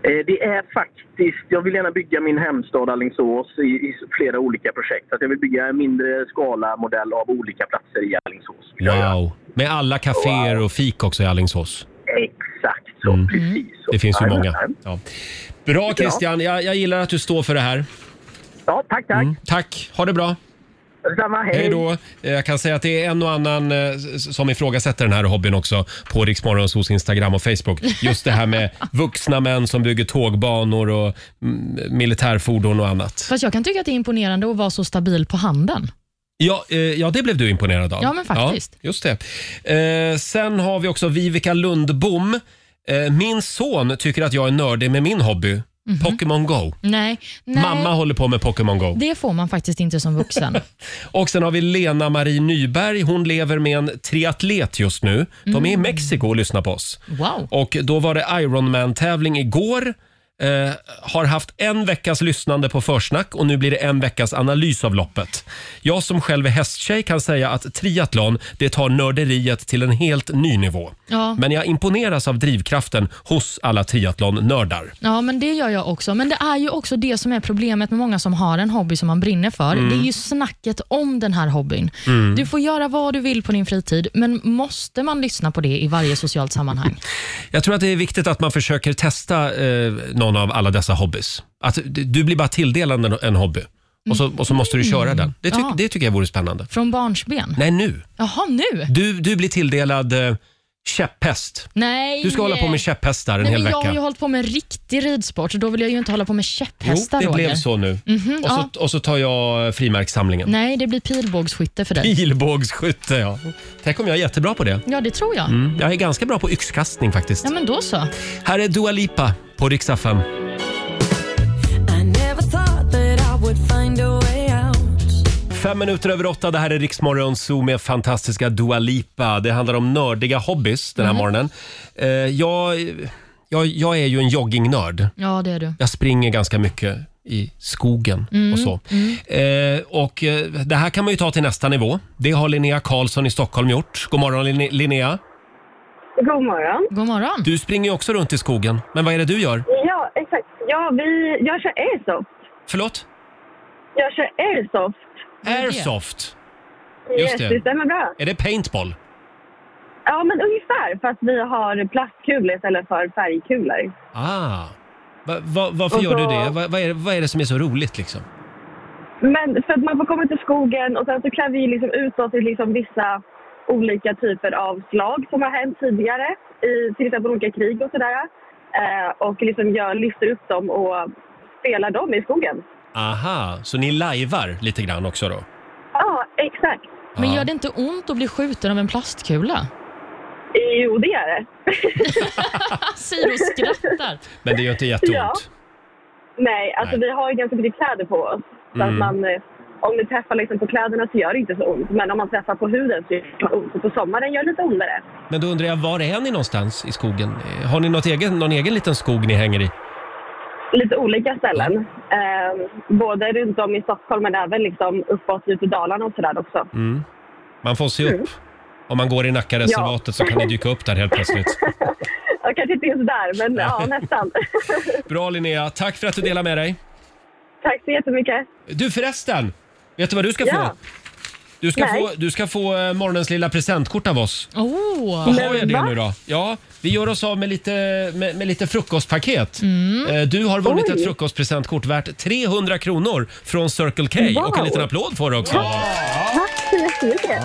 Eh, Det är faktiskt, jag vill gärna bygga min hemstad Alingsås i, i flera olika projekt. Så Att jag vill bygga en mindre skala modell av olika platser i Alingsås.
Wow. Med alla kaféer och fik också i Alingsås.
Exakt.
Mm. Det finns ju
Nej,
många.
nej.
Ja. Bra Christian, jag, jag gillar att du står för det här.
Ja, tack, tack.
tack, ha det bra.
Detsamma, hej.
Mm. Hej då. Eh, Jag kan säga att det är en och annan eh, s- som ifrågasätter den här hobbyn också på Riksmorgonsos Instagram och Facebook. Just det här med vuxna män som bygger tågbanor och mm, militärfordon och annat.
Fast jag kan tycka att det är imponerande att vara så stabil på handen.
Ja, eh, ja, det blev du imponerad av.
Ja, men faktiskt.
Ja, just det. Eh, sen har vi också Vivica Lundbom. Eh, min son tycker att jag är nördig med min hobby, Pokémon Go.
Nej, Mhm. nej.
Mamma håller på med Pokémon Go.
Det får man faktiskt inte som vuxen.
Och sen har vi Lena Marie Nyberg. Hon lever med en triatlet just nu. De är i
Mm.
Mexiko och lyssnar på oss.
Wow.
Och då var det Ironman-tävling igår. Eh, har haft en veckas lyssnande på försnack och nu blir det en veckas analys av loppet. Jag som själv är hästtjej kan säga att triathlon, det tar nörderiet till en helt ny nivå.
Ja.
Men jag imponeras av drivkraften hos alla triathlon-nördar.
Ja, men det gör jag också. Men det är ju också det som är problemet med många som har en hobby som man brinner för.
Mm.
Det är ju snacket om den här hobbyn.
Mm.
Du får göra vad du vill på din fritid, men måste man lyssna på det i varje socialt sammanhang?
Jag tror att det är viktigt att man försöker testa eh, någon av alla dessa hobbys. Att d- du blir bara tilldelad en, en hobby och så, och så måste du köra
Mm.
den. Det, ty-
Ja.
det tycker jag vore spännande.
Från barnsben?
Nej, nu.
Jaha, nu?
Du, du blir tilldelad eh, käpphäst.
Nej.
Du ska hålla på med käpphästar en
eh, Nej,
hel
men
vecka.
Jag har ju hållit på med riktig ridsport. Då vill jag ju inte hålla på med
jo,
käpphästar,
det
Roger.
blev så nu.
Mhm,
och, så, och så tar jag eh, frimärkssamlingen.
Nej, det blir pilbågsskytte för dig.
Pilbågsskytte, ja. Tänk om jag är jättebra på det.
Ja, det tror jag.
Mm, jag är ganska bra på yxkastning faktiskt.
Ja, men då så.
Här är Dua Lipa på riksdag 5. Fem minuter över åtta, det här är Riksmorgon Zoo med fantastiska Dua Lipa. Det handlar om nördiga hobbys
Mm.
den här morgonen. Eh, jag, jag, jag är ju en joggingnörd.
Ja, det är du.
Jag springer ganska mycket i skogen
Mm,
och så.
mm.
Eh, och eh, Det här kan man ju ta till nästa nivå. Det har Linnea Karlsson i Stockholm gjort. God morgon Linne- Linnea.
God morgon.
God morgon.
Du springer ju också runt i skogen. Men vad är det du gör?
Ja, exakt. Ja, vi, jag kör airsoft.
Förlåt?
Jag kör airsoft.
Airsoft.
Yes,
Just
det.
det.
stämmer bra.
Är det paintball?
Ja, men ungefär. Fast vi har plastkulor istället för färgkulor.
Ah. Va, va, varför
Och
gör du
så-
det? Va, vad är, vad är det som är så roligt liksom?
Men för att man får komma till skogen och sen så klär vi liksom ut oss i liksom vissa olika typer av slag som har hänt tidigare. I till exempel olika krig och sådär. Eh, och liksom jag lyfter upp dem och spelar dem i skogen.
Aha, så ni lajvar lite grann också då?
Ja, exakt.
Men gör det inte ont att bli skjuten av en plastkula?
Jo, det gör det.
Siro skrattar.
Men det gör inte jätteont?
Ja. Nej, alltså
Nej.
vi har ju ganska mycket kläder på oss. Så
Mm.
att man, eh, om ni träffar liksom på kläderna så gör det inte så ont. Men om man träffar på huden så gör det ont. Och på sommaren gör det lite ondare.
Men då undrar jag, var är ni någonstans i skogen? Eh, Har ni något egen, någon egen liten skog ni hänger i?
Lite olika ställen.
Ehm,
Eh, både runt om i Stockholm men även liksom uppåt ut i Dalarna och sådär också.
Mm. Man får se upp. Om man går i Nackareservatet
Mm. Ja.
så kan ni dyka upp där helt plötsligt.
Ja, kanske inte just där, men ja, nästan.
Bra Linnea, tack för att du delar med dig.
Tack så jättemycket.
Du förresten, vet du vad du ska
Ja.
få? Du ska
Nej.
få, du ska få eh, morgonens lilla presentkort av oss.
Oh.
Vad har jag det nu då? Ja, vi gör oss av med lite, med, med lite frukostpaket. Eh, Du har vunnit
Mm. Oj.
ett frukostpresentkort värt 300 kronor från Circle K och en
Wow.
liten applåd för det också.
Tack så jättemycket.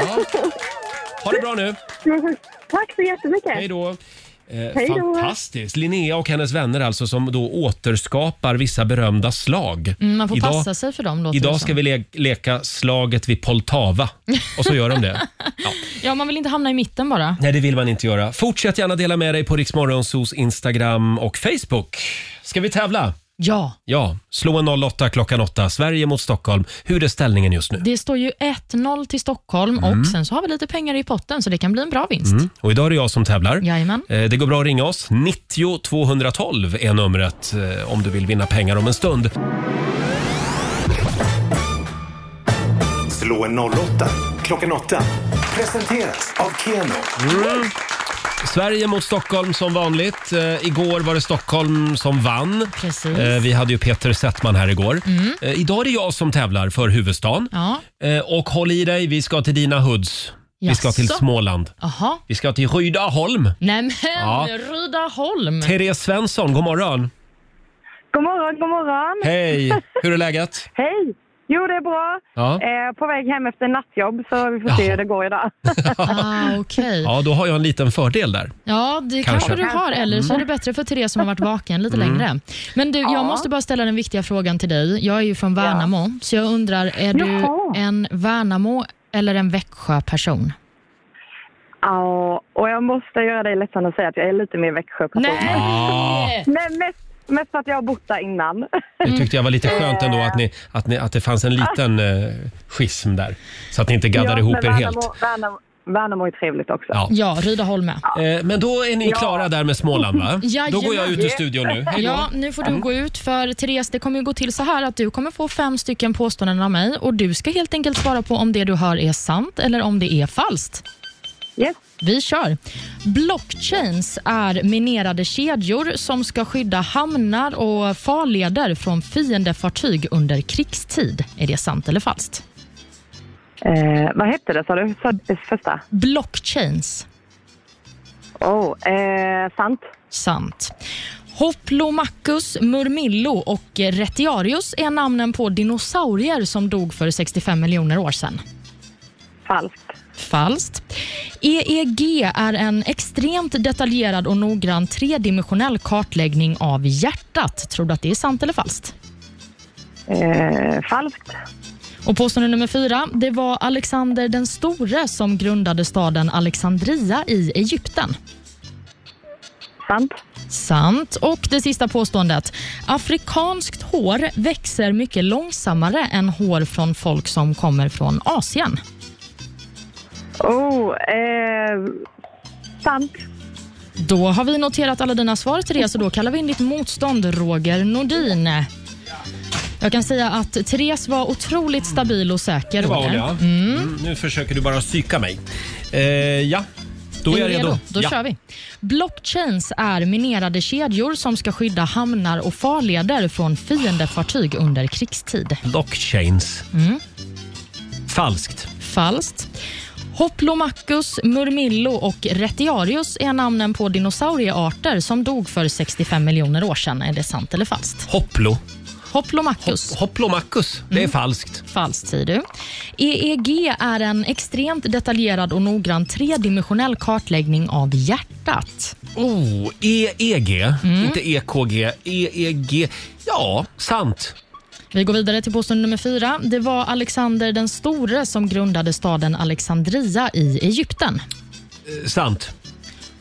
Ha det bra nu!
Tack så jättemycket.
Hej då. Eh,
Hej då.
fantastiskt! Linnea och hennes vänner alltså som då återskapar vissa berömda slag.
Mm, man får
idag,
passa sig för dem låter det
Idag
som.
ska vi le- leka slaget vid Poltava och så gör de det.
Ja, man vill inte hamna i mitten bara.
Nej, det vill man inte göra. Fortsätt gärna dela med dig på Riksmorgonsos Instagram och Facebook. Ska vi tävla?
Ja.
Ja, slå en 08 klockan 8. Sverige mot Stockholm. Hur är ställningen just nu?
Det står ju 1-0 till Stockholm
Mm.
och sen så har vi lite pengar i potten så det kan bli en bra vinst.
Mm. Och idag är det jag som tävlar.
Jajamän.
Eh, Det går bra att ringa oss. 90 212 är numret eh, om du vill vinna pengar om en stund.
Slå en 08 klockan 8. Presenteras av Keno.
Mm. Sverige mot Stockholm som vanligt. Eh, igår var det Stockholm som vann.
Precis.
Eh, vi hade ju Peter Settman här igår.
Mm.
Eh, idag är det jag som tävlar för huvudstaden.
Ja.
Eh, och håll i dig, vi ska till dina hoods. Vi ska till
Jaså? Mm.
Småland.
Jaha.
Vi ska till Rydaholm.
Nej men,
Ja.
Rydaholm.
Therese Svensson, god morgon.
God morgon, god morgon.
Hej, hur är läget?
Hej! Jo, det är bra.
Ja.
Eh, på väg hem efter nattjobb, så vi får se hur det går idag.
ah, okej.
Ja, då har jag en liten fördel där.
Ja, det
Kanske.
kanske, du har. Eller så är det
Mm.
bättre för Therese som har varit vaken lite
Mm.
längre. Men du, jag måste bara ställa den viktiga frågan till dig. Jag är ju från Värnamo, så jag undrar, är
Jaha.
du en Värnamo eller en Växjöperson?
Ja, och jag måste göra dig ledsen och säga att jag är lite mer Växjöperson.
Nej!
Ah.
Men mest, mest för att jag har bott där innan.
Det tyckte jag var lite skönt ändå att, ni, att, ni, att det fanns en liten eh, schism där. Så att ni inte gaddar
Ja,
ihop
men
er helt.
Värnamo, Värnamo, Värnamo är trevligt också.
Ja.
Ja, Rydaholm med.
Eh, Men då är ni
Ja.
klara där med Småland va? Då går jag ut ur
Jajamän.
studion nu. Hej då.
Ja, nu får du gå ut för Therese, det kommer ju gå till så här att du kommer få fem stycken påståenden av mig och du ska helt enkelt svara på om det du hör är sant eller om det är falskt. Vi kör. Blockchains är minerade kedjor som ska skydda hamnar och farleder från fiendefartyg under krigstid. Är det sant eller falskt?
Eh, vad hette det, sa du? Sa- Första?
Blockchains.
Oh, eh, sant.
Sant. Hoplomachus, Murmillo och Retiarius är namnen på dinosaurier som dog för 65 miljoner år sedan.
Falskt.
Falskt. EEG är en extremt detaljerad och noggrann tredimensionell kartläggning av hjärtat. Tror du att det är sant eller falskt?
Eh, falskt.
Och påstående nummer fyra. Det var Alexander den store som grundade staden Alexandria i Egypten.
Sant.
Sant. Och det sista påståendet. Afrikanskt hår växer mycket långsammare än hår från folk som kommer från Asien.
Oh, eh, sant.
Då har vi noterat alla dina svar, Therese, och då kallar vi in ditt motstånd, Roger Nordin. Jag kan säga att Therese var otroligt stabil och säker.
Det var hon
Roger.
ja.
Mm.
Mm, nu försöker du bara psyka mig. Eh, ja, då är jag redo.
Då
ja.
kör vi. Blockchains är minerade kedjor som ska skydda hamnar och farleder från fiendefartyg under krigstid.
Blockchains.
Mm.
Falskt.
Falskt. Hoplomachus, Murmillo och Retiarius är namnen på dinosauriearter som dog för 65 miljoner år sedan. Är det sant eller falskt?
Hopplo.
Hoplomachus.
Hoplomachus, det är
Mm.
falskt.
Falskt säger du. EEG är en extremt detaljerad och noggrann tredimensionell kartläggning av hjärtat.
Oh, EEG,
Mm.
inte E EKG. EEG. E Ja, sant.
Vi går vidare till påstående nummer fyra. Det var Alexander den store som grundade staden Alexandria i Egypten.
Eh, sant.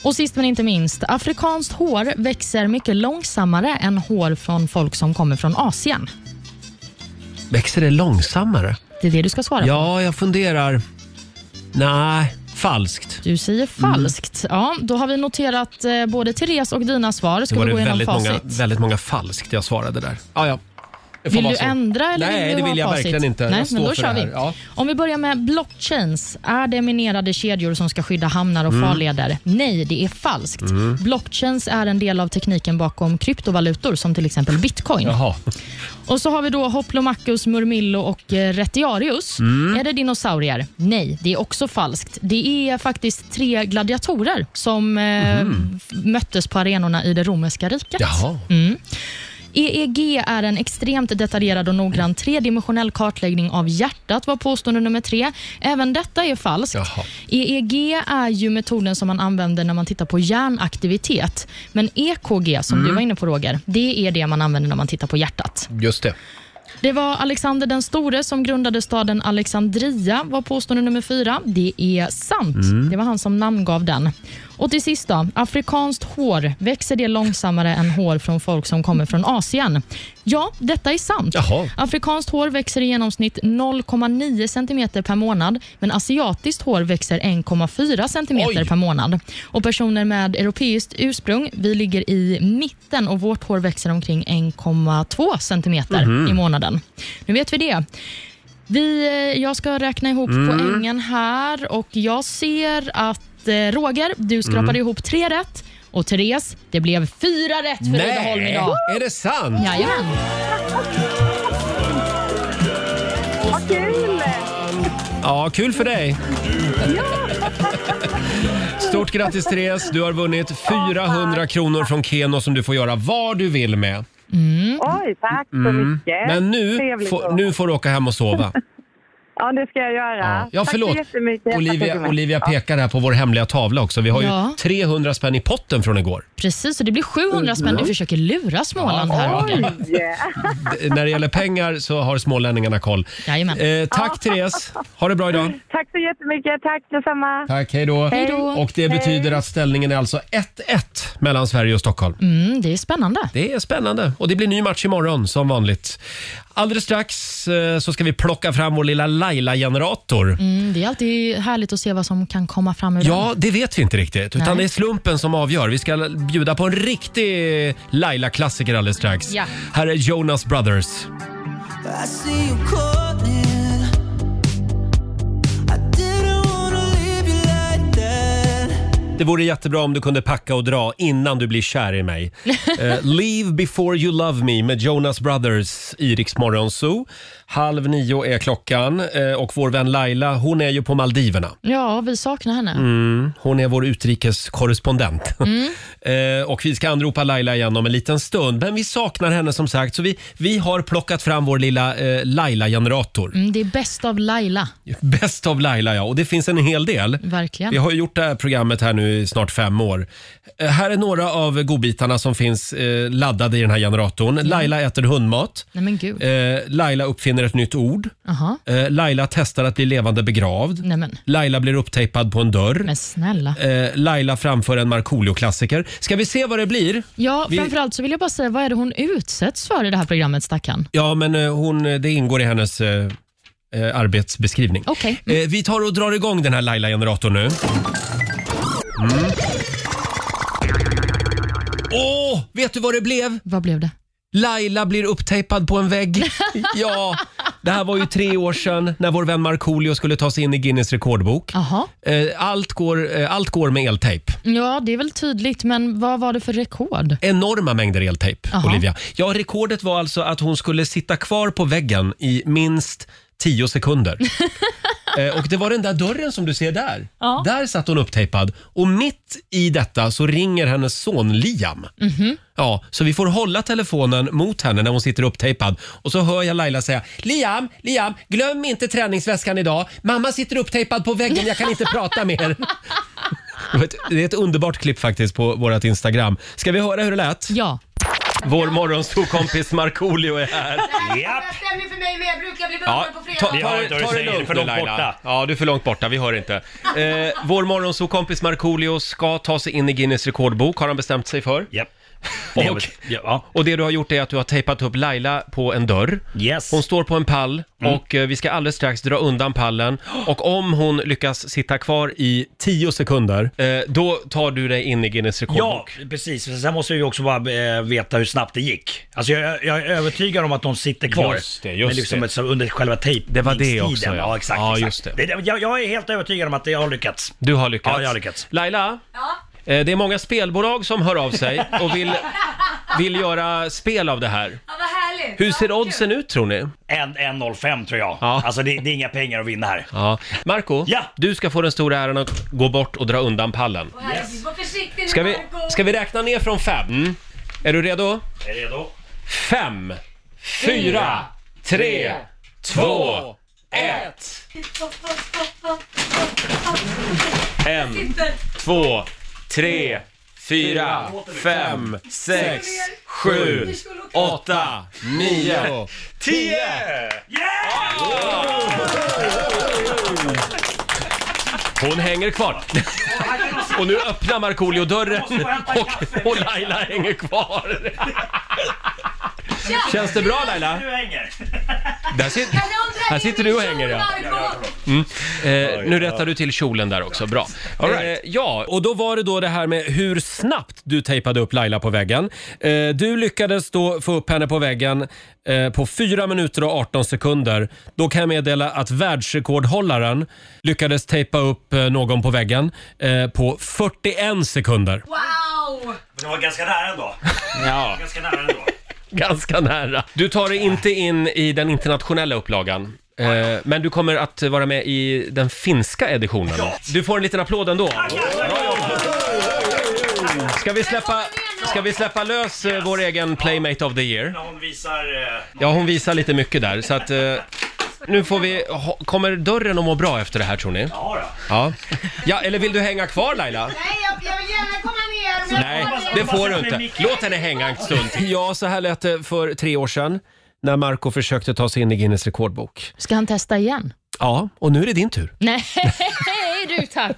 Och sist men inte minst, afrikanskt hår växer mycket långsammare än hår från folk som kommer från Asien.
Växer det långsammare?
Det är det du ska svara på.
Ja, jag funderar. Nej, falskt.
Du säger falskt. Ja, då har vi noterat eh, både Therese och dina svar. Ska
Nu var
vi
det
gå igenom
väldigt
facit?
många, väldigt många falskt jag svarade där. Ah, ja. Det får
Vill
vara
du
så.
ändra eller
Nej,
vill du
det
ha
vill jag
facit?
verkligen inte.
Nej,
jag står
men då
för
kör
det
vi.
här. Ja.
Om vi börjar med blockchains. Är det minerade kedjor som ska skydda hamnar och
Mm.
farleder? Nej, det är falskt.
Mm.
Blockchains är en del av tekniken bakom kryptovalutor som till exempel bitcoin.
Jaha.
Och så har vi då Hoplomachus, Murmillo och eh, Retiarius.
Mm.
Är det dinosaurier? Nej, det är också falskt. Det är faktiskt tre gladiatorer som eh,
Mhm.
f- möttes på arenorna i det romerska riket.
Jaha.
Mm. EEG E är en extremt detaljerad och noggrann tredimensionell kartläggning av hjärtat, var påstående nummer tre. Även detta är falskt. EEG är ju metoden som man använder när man tittar på hjärnaktivitet. Men EKG, som
Mm.
du var inne på Roger, det är det man använder när man tittar på hjärtat.
Just det.
Det var Alexander den store som grundade staden Alexandria, var påstående nummer fyra. Det är sant.
Mm.
Det var han som namngav den. Och till sist då, afrikanskt hår, växer det långsammare än hår från folk som kommer från Asien? Ja, detta är sant.
Jaha.
Afrikanskt hår växer i genomsnitt 0,9 cm per månad, men asiatiskt hår växer 1,4 cm per månad. Och Personer med europeiskt ursprung, vi ligger i mitten och vårt hår växer omkring 1,2 cm
Mhm.
i månaden. Nu vet vi det. Vi, eh, jag ska räkna ihop
Mm.
poängen här och jag ser att eh, Roger, du skrapade
Mm.
ihop tre rätt och Therese, det blev fyra rätt för Rydaholm
Nej,
idag.
är det sant?
Jajamän.
Vad kul! Ja, kul för dig. Stort grattis Therese, du har vunnit 400 kronor från Keno som du får göra vad du vill med.
Oj, tack så
Mm.
mycket.
Men nu,
Trevligt
får-
att-
nu får du åka hem och sova.
Ja, det ska jag göra.
Ja, ja
tack
förlåt.
så jättemycket. Tack
Olivia,
så
Olivia
mycket.
pekar här på vår hemliga tavla också. Vi har
Ja.
ju 300 spänn i potten från igår.
Precis, och det blir 700 spänn. Du försöker lura Småland här Roger.
D- När det gäller pengar så har smålänningarna koll. Eh, tack Therese, ha det bra idag.
Tack så jättemycket. Tack detsamma.
Tack, hej då.
Hej då.
Och det
Hej.
betyder att ställningen är alltså 1-1 mellan Sverige och Stockholm.
Mm, det är spännande.
Det är spännande och det blir ny match imorgon som vanligt. Alldeles strax eh, så ska vi plocka fram vår lilla Laila-generator.
Mm, det är alltid härligt att se vad som kan komma fram ur
Ja, det vet vi inte riktigt. Utan
Nej.
det är slumpen som avgör. Vi ska bjuda på en riktig Laila-klassiker alldeles strax.
Ja.
Här är Jonas Brothers.
I see you calling. I didn't wanna leave you like that.
Det vore jättebra om du kunde packa och dra innan du blir kär i mig. Eh, Leave before you love me med Jonas Brothers i Rix Morgon Zoo. Halv nio är klockan eh, och vår vän Laila, hon är ju på Maldiverna.
Ja, vi saknar henne.
Mm, hon är vår utrikeskorrespondent. eh, och vi ska anropa Laila igen om en liten stund. Men vi saknar henne som sagt, så vi, vi har plockat fram vår lilla eh, Laila-generator.
Mm, det är bäst av Laila,
Bäst av Laila, ja. Och det finns en hel del.
verkligen.
Vi har ju gjort det här programmet här nu i snart fem år. Eh, Här är några av godbitarna som finns eh, laddade i den här generatorn. Laila äter hundmat.
Nej men gud.
Eh, Laila uppfinner ett nytt ord.
Jaha.
Eh, Laila testar att bli levande begravd.
Nej men,
Laila blir upptejpad på en dörr.
men snälla.
Eh, Laila framför en Markoolio-klassiker. Ska vi se vad det blir?
Ja,
Eh, Vi-
framförallt så vill jag bara säga, vad är det hon utsätts för i det här programmet, stackarn?
Ja, men eh, hon, det ingår i hennes eh, eh, arbetsbeskrivning.
Okej.
Eh, vi tar och drar igång den här Laila-generatorn nu. Mm. Åh, vet du vad det blev?
Vad blev det?
Laila blir upptejpad på en vägg. ja, det här var ju tre år sedan när vår vän Markoolio skulle ta sig in i Guinness rekordbok.
Jaha.
Eh, allt, går, eh, allt går med eltejp.
Ja, det är väl tydligt, men vad var det för rekord?
Enorma mängder eltejp,
Jaha.
Olivia. Ja, rekordet var alltså att hon skulle sitta kvar på väggen i minst 10 sekunder. Eh, och det var den där dörren som du ser där.
Ja.
Där satt hon upptejpad. Och mitt i detta så ringer hennes son Liam.
Mhm.
Ja, så vi får hålla telefonen mot henne när hon sitter upptejpad. Och så hör jag Laila säga Liam, Liam, glöm inte träningsväskan idag. Mamma sitter upptejpad på väggen, jag kan inte prata mer. Det var ett- Det är ett underbart klipp faktiskt på vårt Instagram. Ska vi höra hur det lät?
Ja.
Vår morgonstokompis Markoolio är här.
stämmer för mig men jag brukar bli
Ja, ta, ta,
Ja,
ta, det lugnt
för
nu
långt borta.
Laila. Ja, du är för långt borta. Vi hör inte. Eh, vår morgonsokompis Markoolio ska ta sig in i Guinness rekordbok, har han bestämt sig för. Yep. Och, och det du har gjort är att du har tejpat upp Laila på en dörr. Hon står på en pall
Mm.
och eh, vi ska alldeles strax dra undan pallen. Och om hon lyckas sitta kvar i 10 sekunder, eh, då tar du dig in i Guinness
Ja,
rekordbok.
precis. Sen måste jag ju också bara eh, veta hur snabbt det gick. Alltså jag, jag är övertygad om att de sitter kvar.
Just det, just
men liksom
det.
ett- så under själva tejpningstiden. Det
var det också, ja.
ja exakt.
Ja,
exakt.
just det.
jag, jag är helt övertygad om att jag har lyckats.
Du har lyckats.
Ja, jag har lyckats.
Laila? Eh, Det är många spelbolag som hör av sig och vill, vill göra spel av det här.
vad härligt.
Hur ser oddsen ut tror ni?
1.05 tror jag.
Ja.
Alltså det, det är inga pengar att vinna här.
Ja. Marco, du ska få den stora äran att gå bort och dra undan pallen.
Yes.
Var försiktig nu
Ska vi,
Marco.
ska vi räkna ner från fem? Mm. Är du redo?
Är du redo?
Fem, fyra, tre, två, ett. en, två, tre, fyra, fem, sex, sju, åtta, nio, tio! Hon hänger kvar. Och nu öppnar Markoolio dörren och, och Laila hänger kvar. Känns det bra Laila?
Du hänger.
Där sit- här sitter du och hänger ja. Mm. Eh, nu rättar du till kjolen där också, bra.
All
Eh, ja, och då var det då det här med hur snabbt du tejpade upp Laila på väggen. Eh, du lyckades då få upp henne på väggen eh, på 4 minuter och 18 sekunder. Då kan jag meddela att världsrekordhållaren lyckades tejpa upp eh, någon på väggen eh, på 41 sekunder.
Wow! Det var ganska nära ändå.
Ja.
Ganska nära ändå.
Ganska nära. Du tar dig inte in i den internationella upplagan. eh, Men du kommer att vara med i den finska editionen. Du får en liten applåd ändå. Ska vi släppa, ska vi släppa lös eh, vår egen Playmate of the Year?
När hon visar... eh,
Ja, hon visar lite mycket där, så att... eh, Nu får vi... ha- Kommer dörren att må bra efter det här, tror ni?
Ja,
Ja. ja eller vill du hänga kvar, Laila?
Nej, jag, jag vill gärna komma ner. men-
Nej, det får du inte. Låt henne hänga en stund till. Ja, så här lät det för tre år sedan när Marco försökte ta sig in i Guinness rekordbok.
Ska han testa igen?
Ja, och nu är det din tur.
Nej, du tack.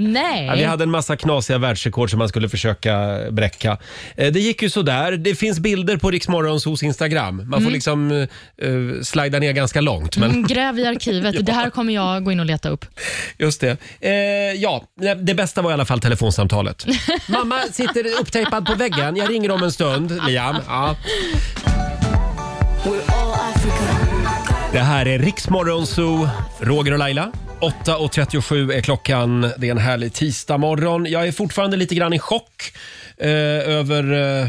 Nej.
Ja, vi hade en massa knasiga världsrekord som man skulle försöka bräcka. Eh, Det gick ju sådär. Det finns bilder på Riksmorgons hos Instagram. Man får
Mm.
liksom uh, slida ner ganska långt. Men...
Mm, gräv i arkivet. Det här kommer jag gå in och leta upp.
Just det. Eh, ja, det bästa var i alla fall telefonsamtalet. Mamma sitter upptejpad på väggen. Jag ringer om en stund, Liam. Ja. Det här är Riksmorgon Zoo, Roger och Laila. 8.37 är klockan. Det är en härlig tisdagmorgon. Jag är fortfarande lite grann i chock eh, över, eh,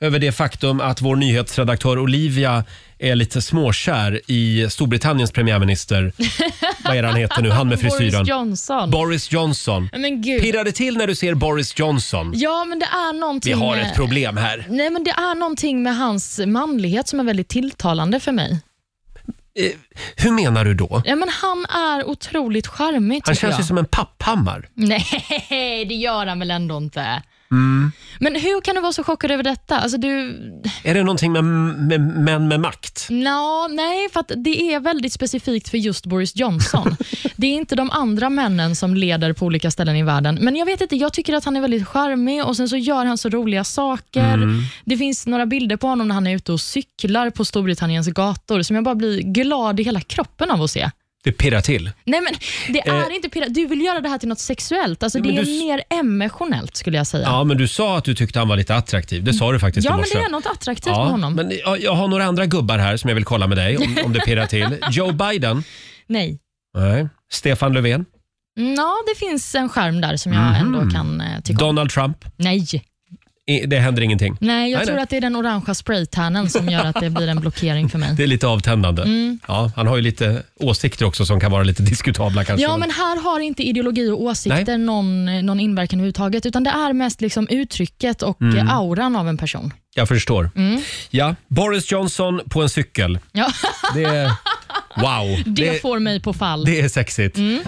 över det faktum att vår nyhetsredaktör Olivia är lite småkär i Storbritanniens premiärminister. Vad är han heter nu? Han med frisyren.
Boris Johnson.
Boris Johnson.
Men gud.
Pirrar det till när du ser Boris Johnson?
Ja, men det är någonting
Vi har
med-
ett problem här.
Nej, men det är någonting med hans manlighet som är väldigt tilltalande för mig.
Eh, Hur menar du då?
Ja, men han är otroligt charmig
Han
tycker
känns
jag.
ju som en papphammar.
Nej, det gör han väl ändå inte.
Mm.
Men hur kan du vara så chockad över detta? Alltså du...
Är det någonting med med- män med makt?
Nå, nej, för att det är väldigt specifikt för just Boris Johnson. det är inte de andra männen som leder på olika ställen i världen. Men jag vet inte, jag tycker att han är väldigt charmig och sen så gör han så roliga saker.
Mm.
Det finns några bilder på honom när han är ute och cyklar på Storbritanniens gator som jag bara blir glad i hela kroppen av att se.
Det pirrar till.
Nej men det är
Eh.
inte pirra- Du vill göra det här till något sexuellt. Alltså,
men
det är
du s-
mer emotionellt skulle jag säga.
Ja, men du sa att du tyckte han var lite attraktiv. Det sa du faktiskt i
Ja, men
morse.
det är något attraktivt
Ja,
med honom.
Men jag, jag har några andra gubbar här som jag vill kolla med dig om, om det pirrar till. Joe Biden?
Nej.
Nej. Stefan Löfven? Mm.
Ja, det finns en skärm där som jag ändå kan eh, tycka om.
Donald Trump?
Nej.
I- Det händer ingenting?
Nej, jag tror att det är den orangea spraytannen som gör att det blir en blockering för mig.
Det är lite avtändande.
Mm.
Ja, han har ju lite åsikter också som kan vara lite diskutabla kanske.
Ja, men här har inte ideologi och åsikter någon, eh, någon inverkan överhuvudtaget, utan det är mest liksom uttrycket och
Mm.
eh, auran av en person.
Jag förstår.
Mm.
Ja, Boris Johnson på en cykel.
Ja.
Det är... Wow!
Det, får mig på fall.
det är sexigt.
Mm.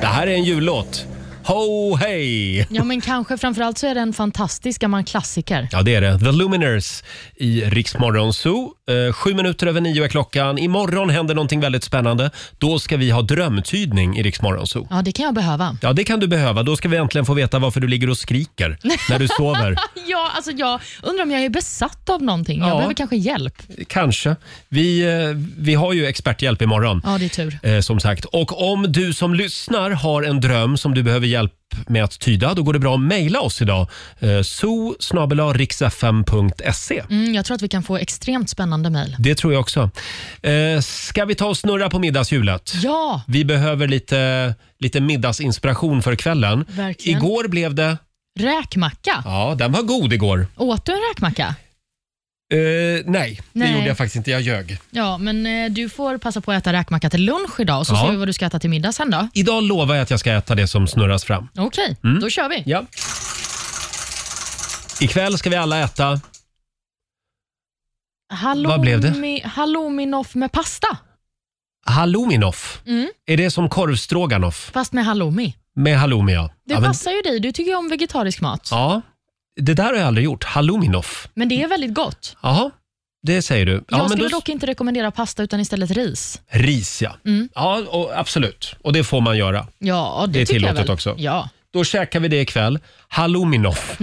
Det här är en jullåt. Ho, hej!
Ja, men kanske framförallt så är det en fantastisk gammal klassiker.
Ja, det är det. The Luminers i Riksmorgon Zoo. Eh, sju minuter över nio är klockan. Imorgon händer någonting väldigt spännande. Då ska vi ha drömtydning i Riksmorgon Zoo.
Ja, det kan jag behöva.
Ja, det kan du behöva. Då ska vi äntligen få veta varför du ligger och skriker när du sover.
ja, alltså jag undrar om jag är besatt av någonting. Jag
Ja.
behöver kanske hjälp.
Kanske. Vi, eh, vi har ju experthjälp imorgon.
Ja, det är tur.
Eh, som sagt. Och om du som lyssnar har en dröm som du behöver hjälp med att tyda, då går det bra att mejla oss idag. Eh, so
Mm, jag tror att vi kan få extremt spännande mejl.
Det tror jag också. Eh, ska vi ta och snurra på middagshjulet?
Ja!
Vi behöver lite, lite middagsinspiration för kvällen.
Verkligen.
Igår blev det...
Räkmacka.
Ja, den var god igår.
Åt du en räkmacka?
Eh, nej,
Nej.
det gjorde jag faktiskt inte. Jag ljög.
Ja, men eh, du får passa på att äta räkmacka till lunch idag och så
Ja.
ser vi vad du ska äta till middag sen då.
Idag lovar jag att jag ska äta det som snurras fram.
Okej,
Mm.
då kör vi.
Ja. Ikväll ska vi alla äta...
Halloumi,
Vad blev
Hallouminoff med pasta.
Hallouminoff.
Mm.
Är det som korvstroganoff?
Fast med halloumi.
Med halloumi, ja.
Det
ja, men-
passar ju dig, du tycker ju om vegetarisk mat.
ja. Det där har jag aldrig gjort. Hallouminoff.
Men det är väldigt gott.
Jaha, det säger du. Ja,
jag
men
skulle
då...
dock inte rekommendera pasta utan istället ris.
Ris, ja.
Mm.
Ja, och, absolut. Och det får man göra.
Ja, det,
Det är
tycker jag
tillåtet
väl.
också.
Ja.
Då käkar vi det ikväll. Hallouminoff.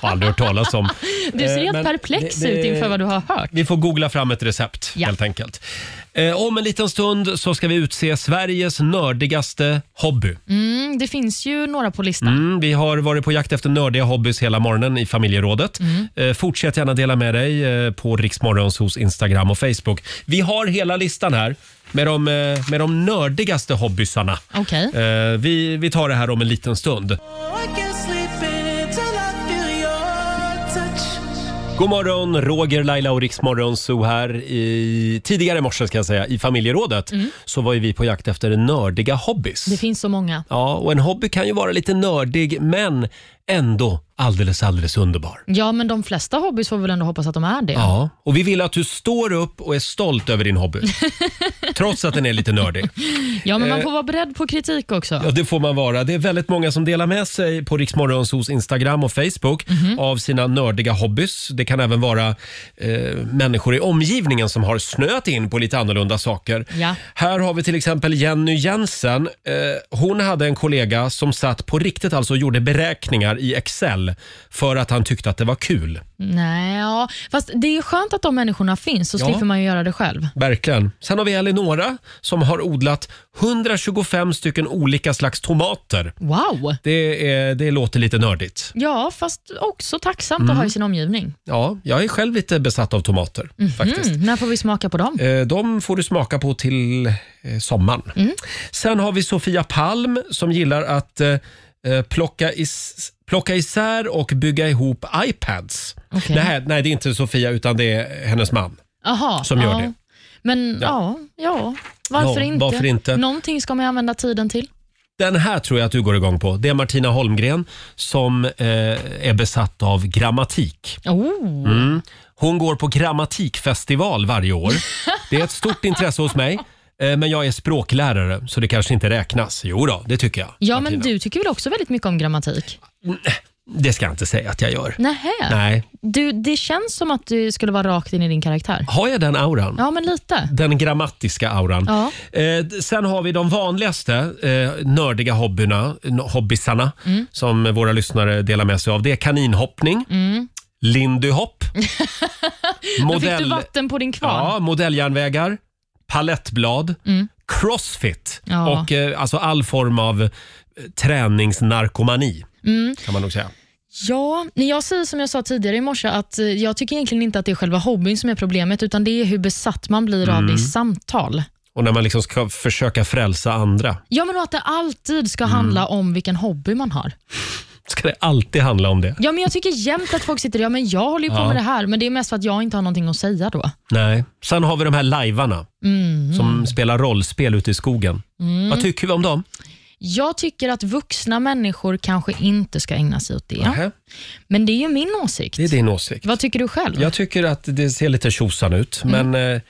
Har aldrig hört talas om.
Du ser
Eh,
helt
men
perplex
det- det-
ut inför vad du har hört.
Vi får googla fram ett recept
Ja.
helt enkelt. Eh, om en liten stund så ska vi utse Sveriges nördigaste hobby.
Mm, det finns ju några på listan.
Mm, vi har varit på jakt efter nördiga hobbys hela morgonen i familjerådet.
Mm.
Eh, fortsätt gärna dela med dig eh, på Riksmorgons hos Instagram och Facebook. Vi har hela listan här med de, eh, med de nördigaste hobbysarna.
Okej.
Eh, vi, vi tar det här om en liten stund. God morgon, Roger, Laila och Riksmorgon Zoo här. I, tidigare i morse ska jag säga, i familjerådet så var ju vi på jakt efter nördiga hobbys.
Mm. Det finns så många.
Ja, och en hobby kan ju vara lite nördig men ändå alldeles, alldeles underbar.
Ja, men de flesta hobbys får vi väl ändå hoppas att de är det.
Ja, och vi vill att du står upp och är stolt över din hobby. Trots att den är lite nördig.
Ja, men man
Eh.
får vara beredd på kritik också.
Ja, det får man vara. Det är väldigt många som delar med sig på Riksmorgonsos Instagram och Facebook av sina nördiga hobbys. Det kan även vara eh, människor i omgivningen som har snöat in på lite annorlunda saker.
Ja.
Här har vi till exempel Jenny Jensen. Eh, hon hade en kollega som satt på riktigt alltså och gjorde beräkningar i Excel för att han tyckte att det var kul.
Nej, ja. fast det är skönt att de människorna finns så
Ja.
slipper man ju göra det själv.
Verkligen. Sen har vi Elinora som har odlat 125 stycken olika slags tomater.
Wow!
Det, är, det låter lite nördigt.
Ja, fast också tacksamt
Mm.
att ha i sin omgivning.
Ja, jag är själv lite besatt av tomater
Mhm.
faktiskt.
När får vi smaka på dem?
Eh, De får du smaka på till eh, sommaren.
Mm.
Sen har vi Sofia Palm som gillar att eh, eh, plocka, is plocka isär och bygga ihop iPads.
Okej.
Nej, nej, det är inte Sofia utan det är hennes man.
Aha,
som gör
ja.
det.
Men ja, ja, varför,
Ja,
inte?
varför inte?
Någonting ska man ju använda tiden till.
Den här tror jag att du går igång på. Det är Martina Holmgren som eh, är besatt av grammatik.
Oh.
Mm. Hon går på grammatikfestival varje år. Det är ett stort intresse hos mig. eh, Men jag är språklärare, så det kanske inte räknas. Jo då, det tycker jag.
Ja, men
Martina.
du tycker väl också väldigt mycket om grammatik?
Det ska jag inte säga att jag gör.
Nähä.
Nej.
Du, det känns som att du skulle vara rakt in i din karaktär.
Har jag den auran?
Ja, men lite.
Den grammatiska auran.
Ja.
Eh, d- sen har vi de vanligaste eh, nördiga hobbyna, n- hobbysarna som våra lyssnare delar med sig av. Det är kaninhoppning,
Mm.
lindyhopp,
Då fick du vatten på din kvarn.
ja, modelljärnvägar, palettblad,
Mm.
crossfit
Ja.
och eh, alltså all form av eh, träningsnarkomani
Mm.
kan man nog säga.
Ja, nej, jag säger som jag sa tidigare i morse att eh, jag tycker egentligen inte att det är själva hobbyn som är problemet utan det är hur besatt man blir av
Mm.
det i samtal.
Och när man liksom ska försöka frälsa andra.
Ja, men och att det alltid
Mm.
ska handla om vilken hobby man har.
Ska det alltid handla om det?
Ja, men jag tycker jämt att folk sitter och ja, men jag håller ju på
Ja.
med det här, men det är mest för att jag inte har någonting att säga då.
Nej. Sen har vi de här lajvarna
Mm.
som spelar rollspel ute i skogen.
Mm.
Vad tycker vi om dem?
Jag tycker att vuxna människor kanske inte ska ägna sig åt det.
Nähä.
Men det är ju min åsikt.
Det är din åsikt.
Vad tycker du själv?
Jag tycker att det ser lite tjosan ut,
Mm.
men eh,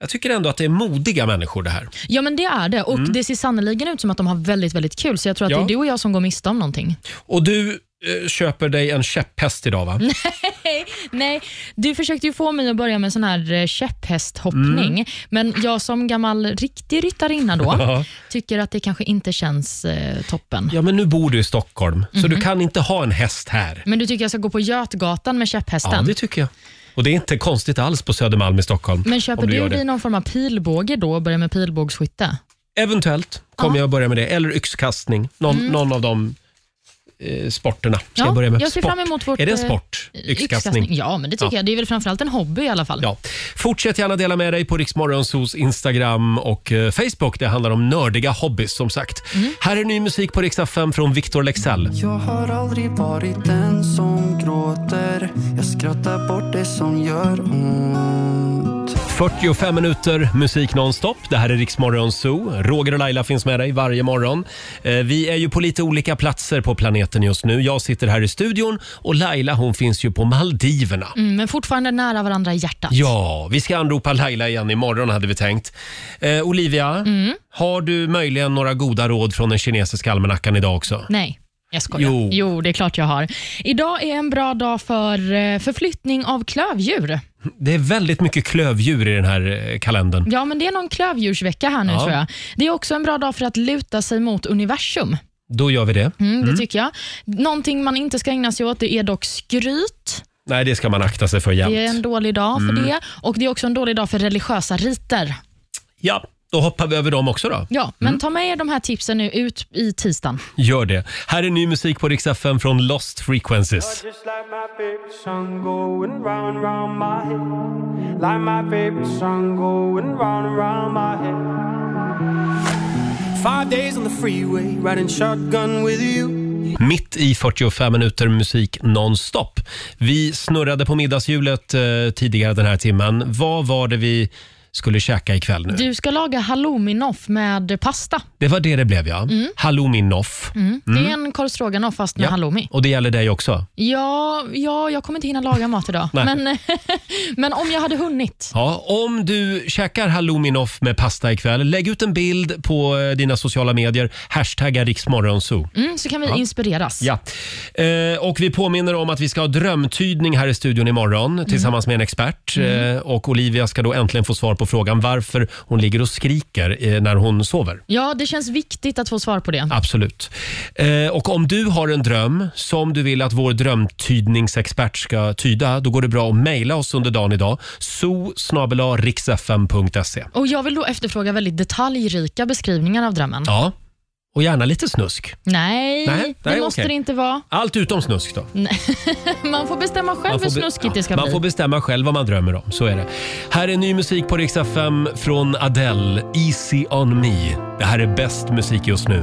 jag tycker ändå att det är modiga människor det här.
Ja, men det är det. Och
Mm.
Det ser sannerligen ut som att de har väldigt, väldigt kul, så jag tror att
Ja.
det är du och jag som går miste om någonting.
Och du eh, köper dig en käpphäst idag va?
Nej, nej, du försökte ju få mig att börja med sån här eh, käpphästhoppning,
Mm.
men jag som gammal riktig ryttarinna då
Ja.
tycker att det kanske inte känns eh, toppen.
Ja, men nu bor du i Stockholm, så
Mhm.
du kan inte ha en häst här.
Men du tycker jag ska gå på Götgatan med käpphästen?
Ja, det tycker jag. Och det är inte konstigt alls på Södermalm i Stockholm.
men
om
köper
du
du
gör det.
dig någon form av pilbåge då och börjar med pilbågsskytte?
Eventuellt kommer jag att börja med det, eller yxkastning. Någon,
Mm.
någon av de eh, sporterna ska
Ja,
jag börja med.
jag ser
sport.
fram emot vårt,
är det en
eh,
sport? Yxkastning?
Ja, men det tycker jag. Det är väl framförallt en hobby i alla fall.
Ja. Fortsätt gärna dela med dig på Riksmorgonsos Instagram och eh, Facebook. Det handlar om nördiga hobbys som sagt.
Mm.
Här är ny musik på Rix FM från Victor Lexell.
Jag har aldrig varit den som gråter Jag skrattar bort det som gör ont
45 minuter musik nonstop. Det här är Riksmorgon Zoo. Roger och Laila finns med dig varje morgon. Eh, Vi är ju på lite olika platser på planeten just nu. Jag sitter här i studion och Laila hon finns ju på Maldiverna.
Mm, men fortfarande nära varandra i hjärtat.
Ja, vi ska anropa Laila igen imorgon hade vi tänkt. Eh, Olivia,
Mm.
har du möjligen några goda råd från den kinesiska almanackan idag också?
Nej. Jag skojar.
Jo.
Jo. det är klart jag har. Idag är en bra dag för eh, förflyttning av klövdjur.
Det är väldigt mycket klövdjur i den här eh, kalendern.
Ja, men det är någon klövdjursvecka här nu
Ja.
tror jag. Det är också en bra dag för att luta sig mot universum.
Då gör vi det.
Mm, det
Mm.
tycker jag. Någonting man inte ska ägna sig åt det är dock skryt.
Nej, det ska man akta sig för jämt.
Det är en dålig dag för
Mm.
det. Och Det är också en dålig dag för religiösa riter.
Ja, då hoppar vi över dem också då.
Ja, men
Mm.
ta med er de här tipsen nu ut i tisdagen.
Gör det. Här är ny musik på Rix FM från Lost Frequencies.
Just like my favorite song going round and round my head. Like my favorite song going round and round my head. Five days on the freeway, riding shotgun with you.
Mitt i 45 minuter musik nonstop. Vi snurrade på middagshjulet eh, tidigare den här timmen. Vad var det vi skulle käka ikväll nu?
Du ska laga hallouminoff med pasta.
Det var det det blev ja.
Mm.
Hallouminoff.
Mm. Det är
Mm.
en korv stroganoff fast med
Ja.
halloumi.
Och det gäller dig också?
Ja, ja, jag kommer inte hinna laga mat idag.
Nej.
men, men om jag hade hunnit.
Ja, om du käkar hallouminoff med pasta ikväll, lägg ut en bild på eh, dina sociala medier. Hashtagga riksmorgonzoo.
Mm, så kan vi
Ja.
inspireras.
Ja. Eh, och vi påminner om att vi ska ha drömtydning här i studion imorgon tillsammans med en expert.
Mm.
Eh, och Olivia ska då äntligen få svar på frågan varför hon ligger och skriker eh, när hon sover.
Ja, det känns viktigt att få svar på det.
Absolut. Eh, och om du har en dröm som du vill att vår drömtydningsexpert ska tyda, då går det bra att mejla oss under dagen idag. so
Och Jag vill då efterfråga väldigt detaljrika beskrivningar av drömmen.
Ja, och gärna lite snusk.
Nej,
Nej,
det
nej,
måste
okej.
det inte vara.
Allt utom snusk då.
Nej. Man får bestämma själv hur
be-
snuskigt det ska
man
bli.
får bestämma själv vad man drömmer om. Så är det. Här är ny musik på Rix FM från Adele, Easy on me. Det här är bäst musik just nu.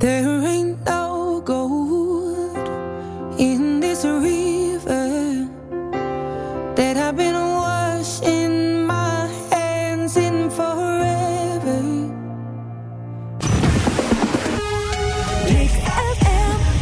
There ain't no gold in this river that I've been washing my hands in forever.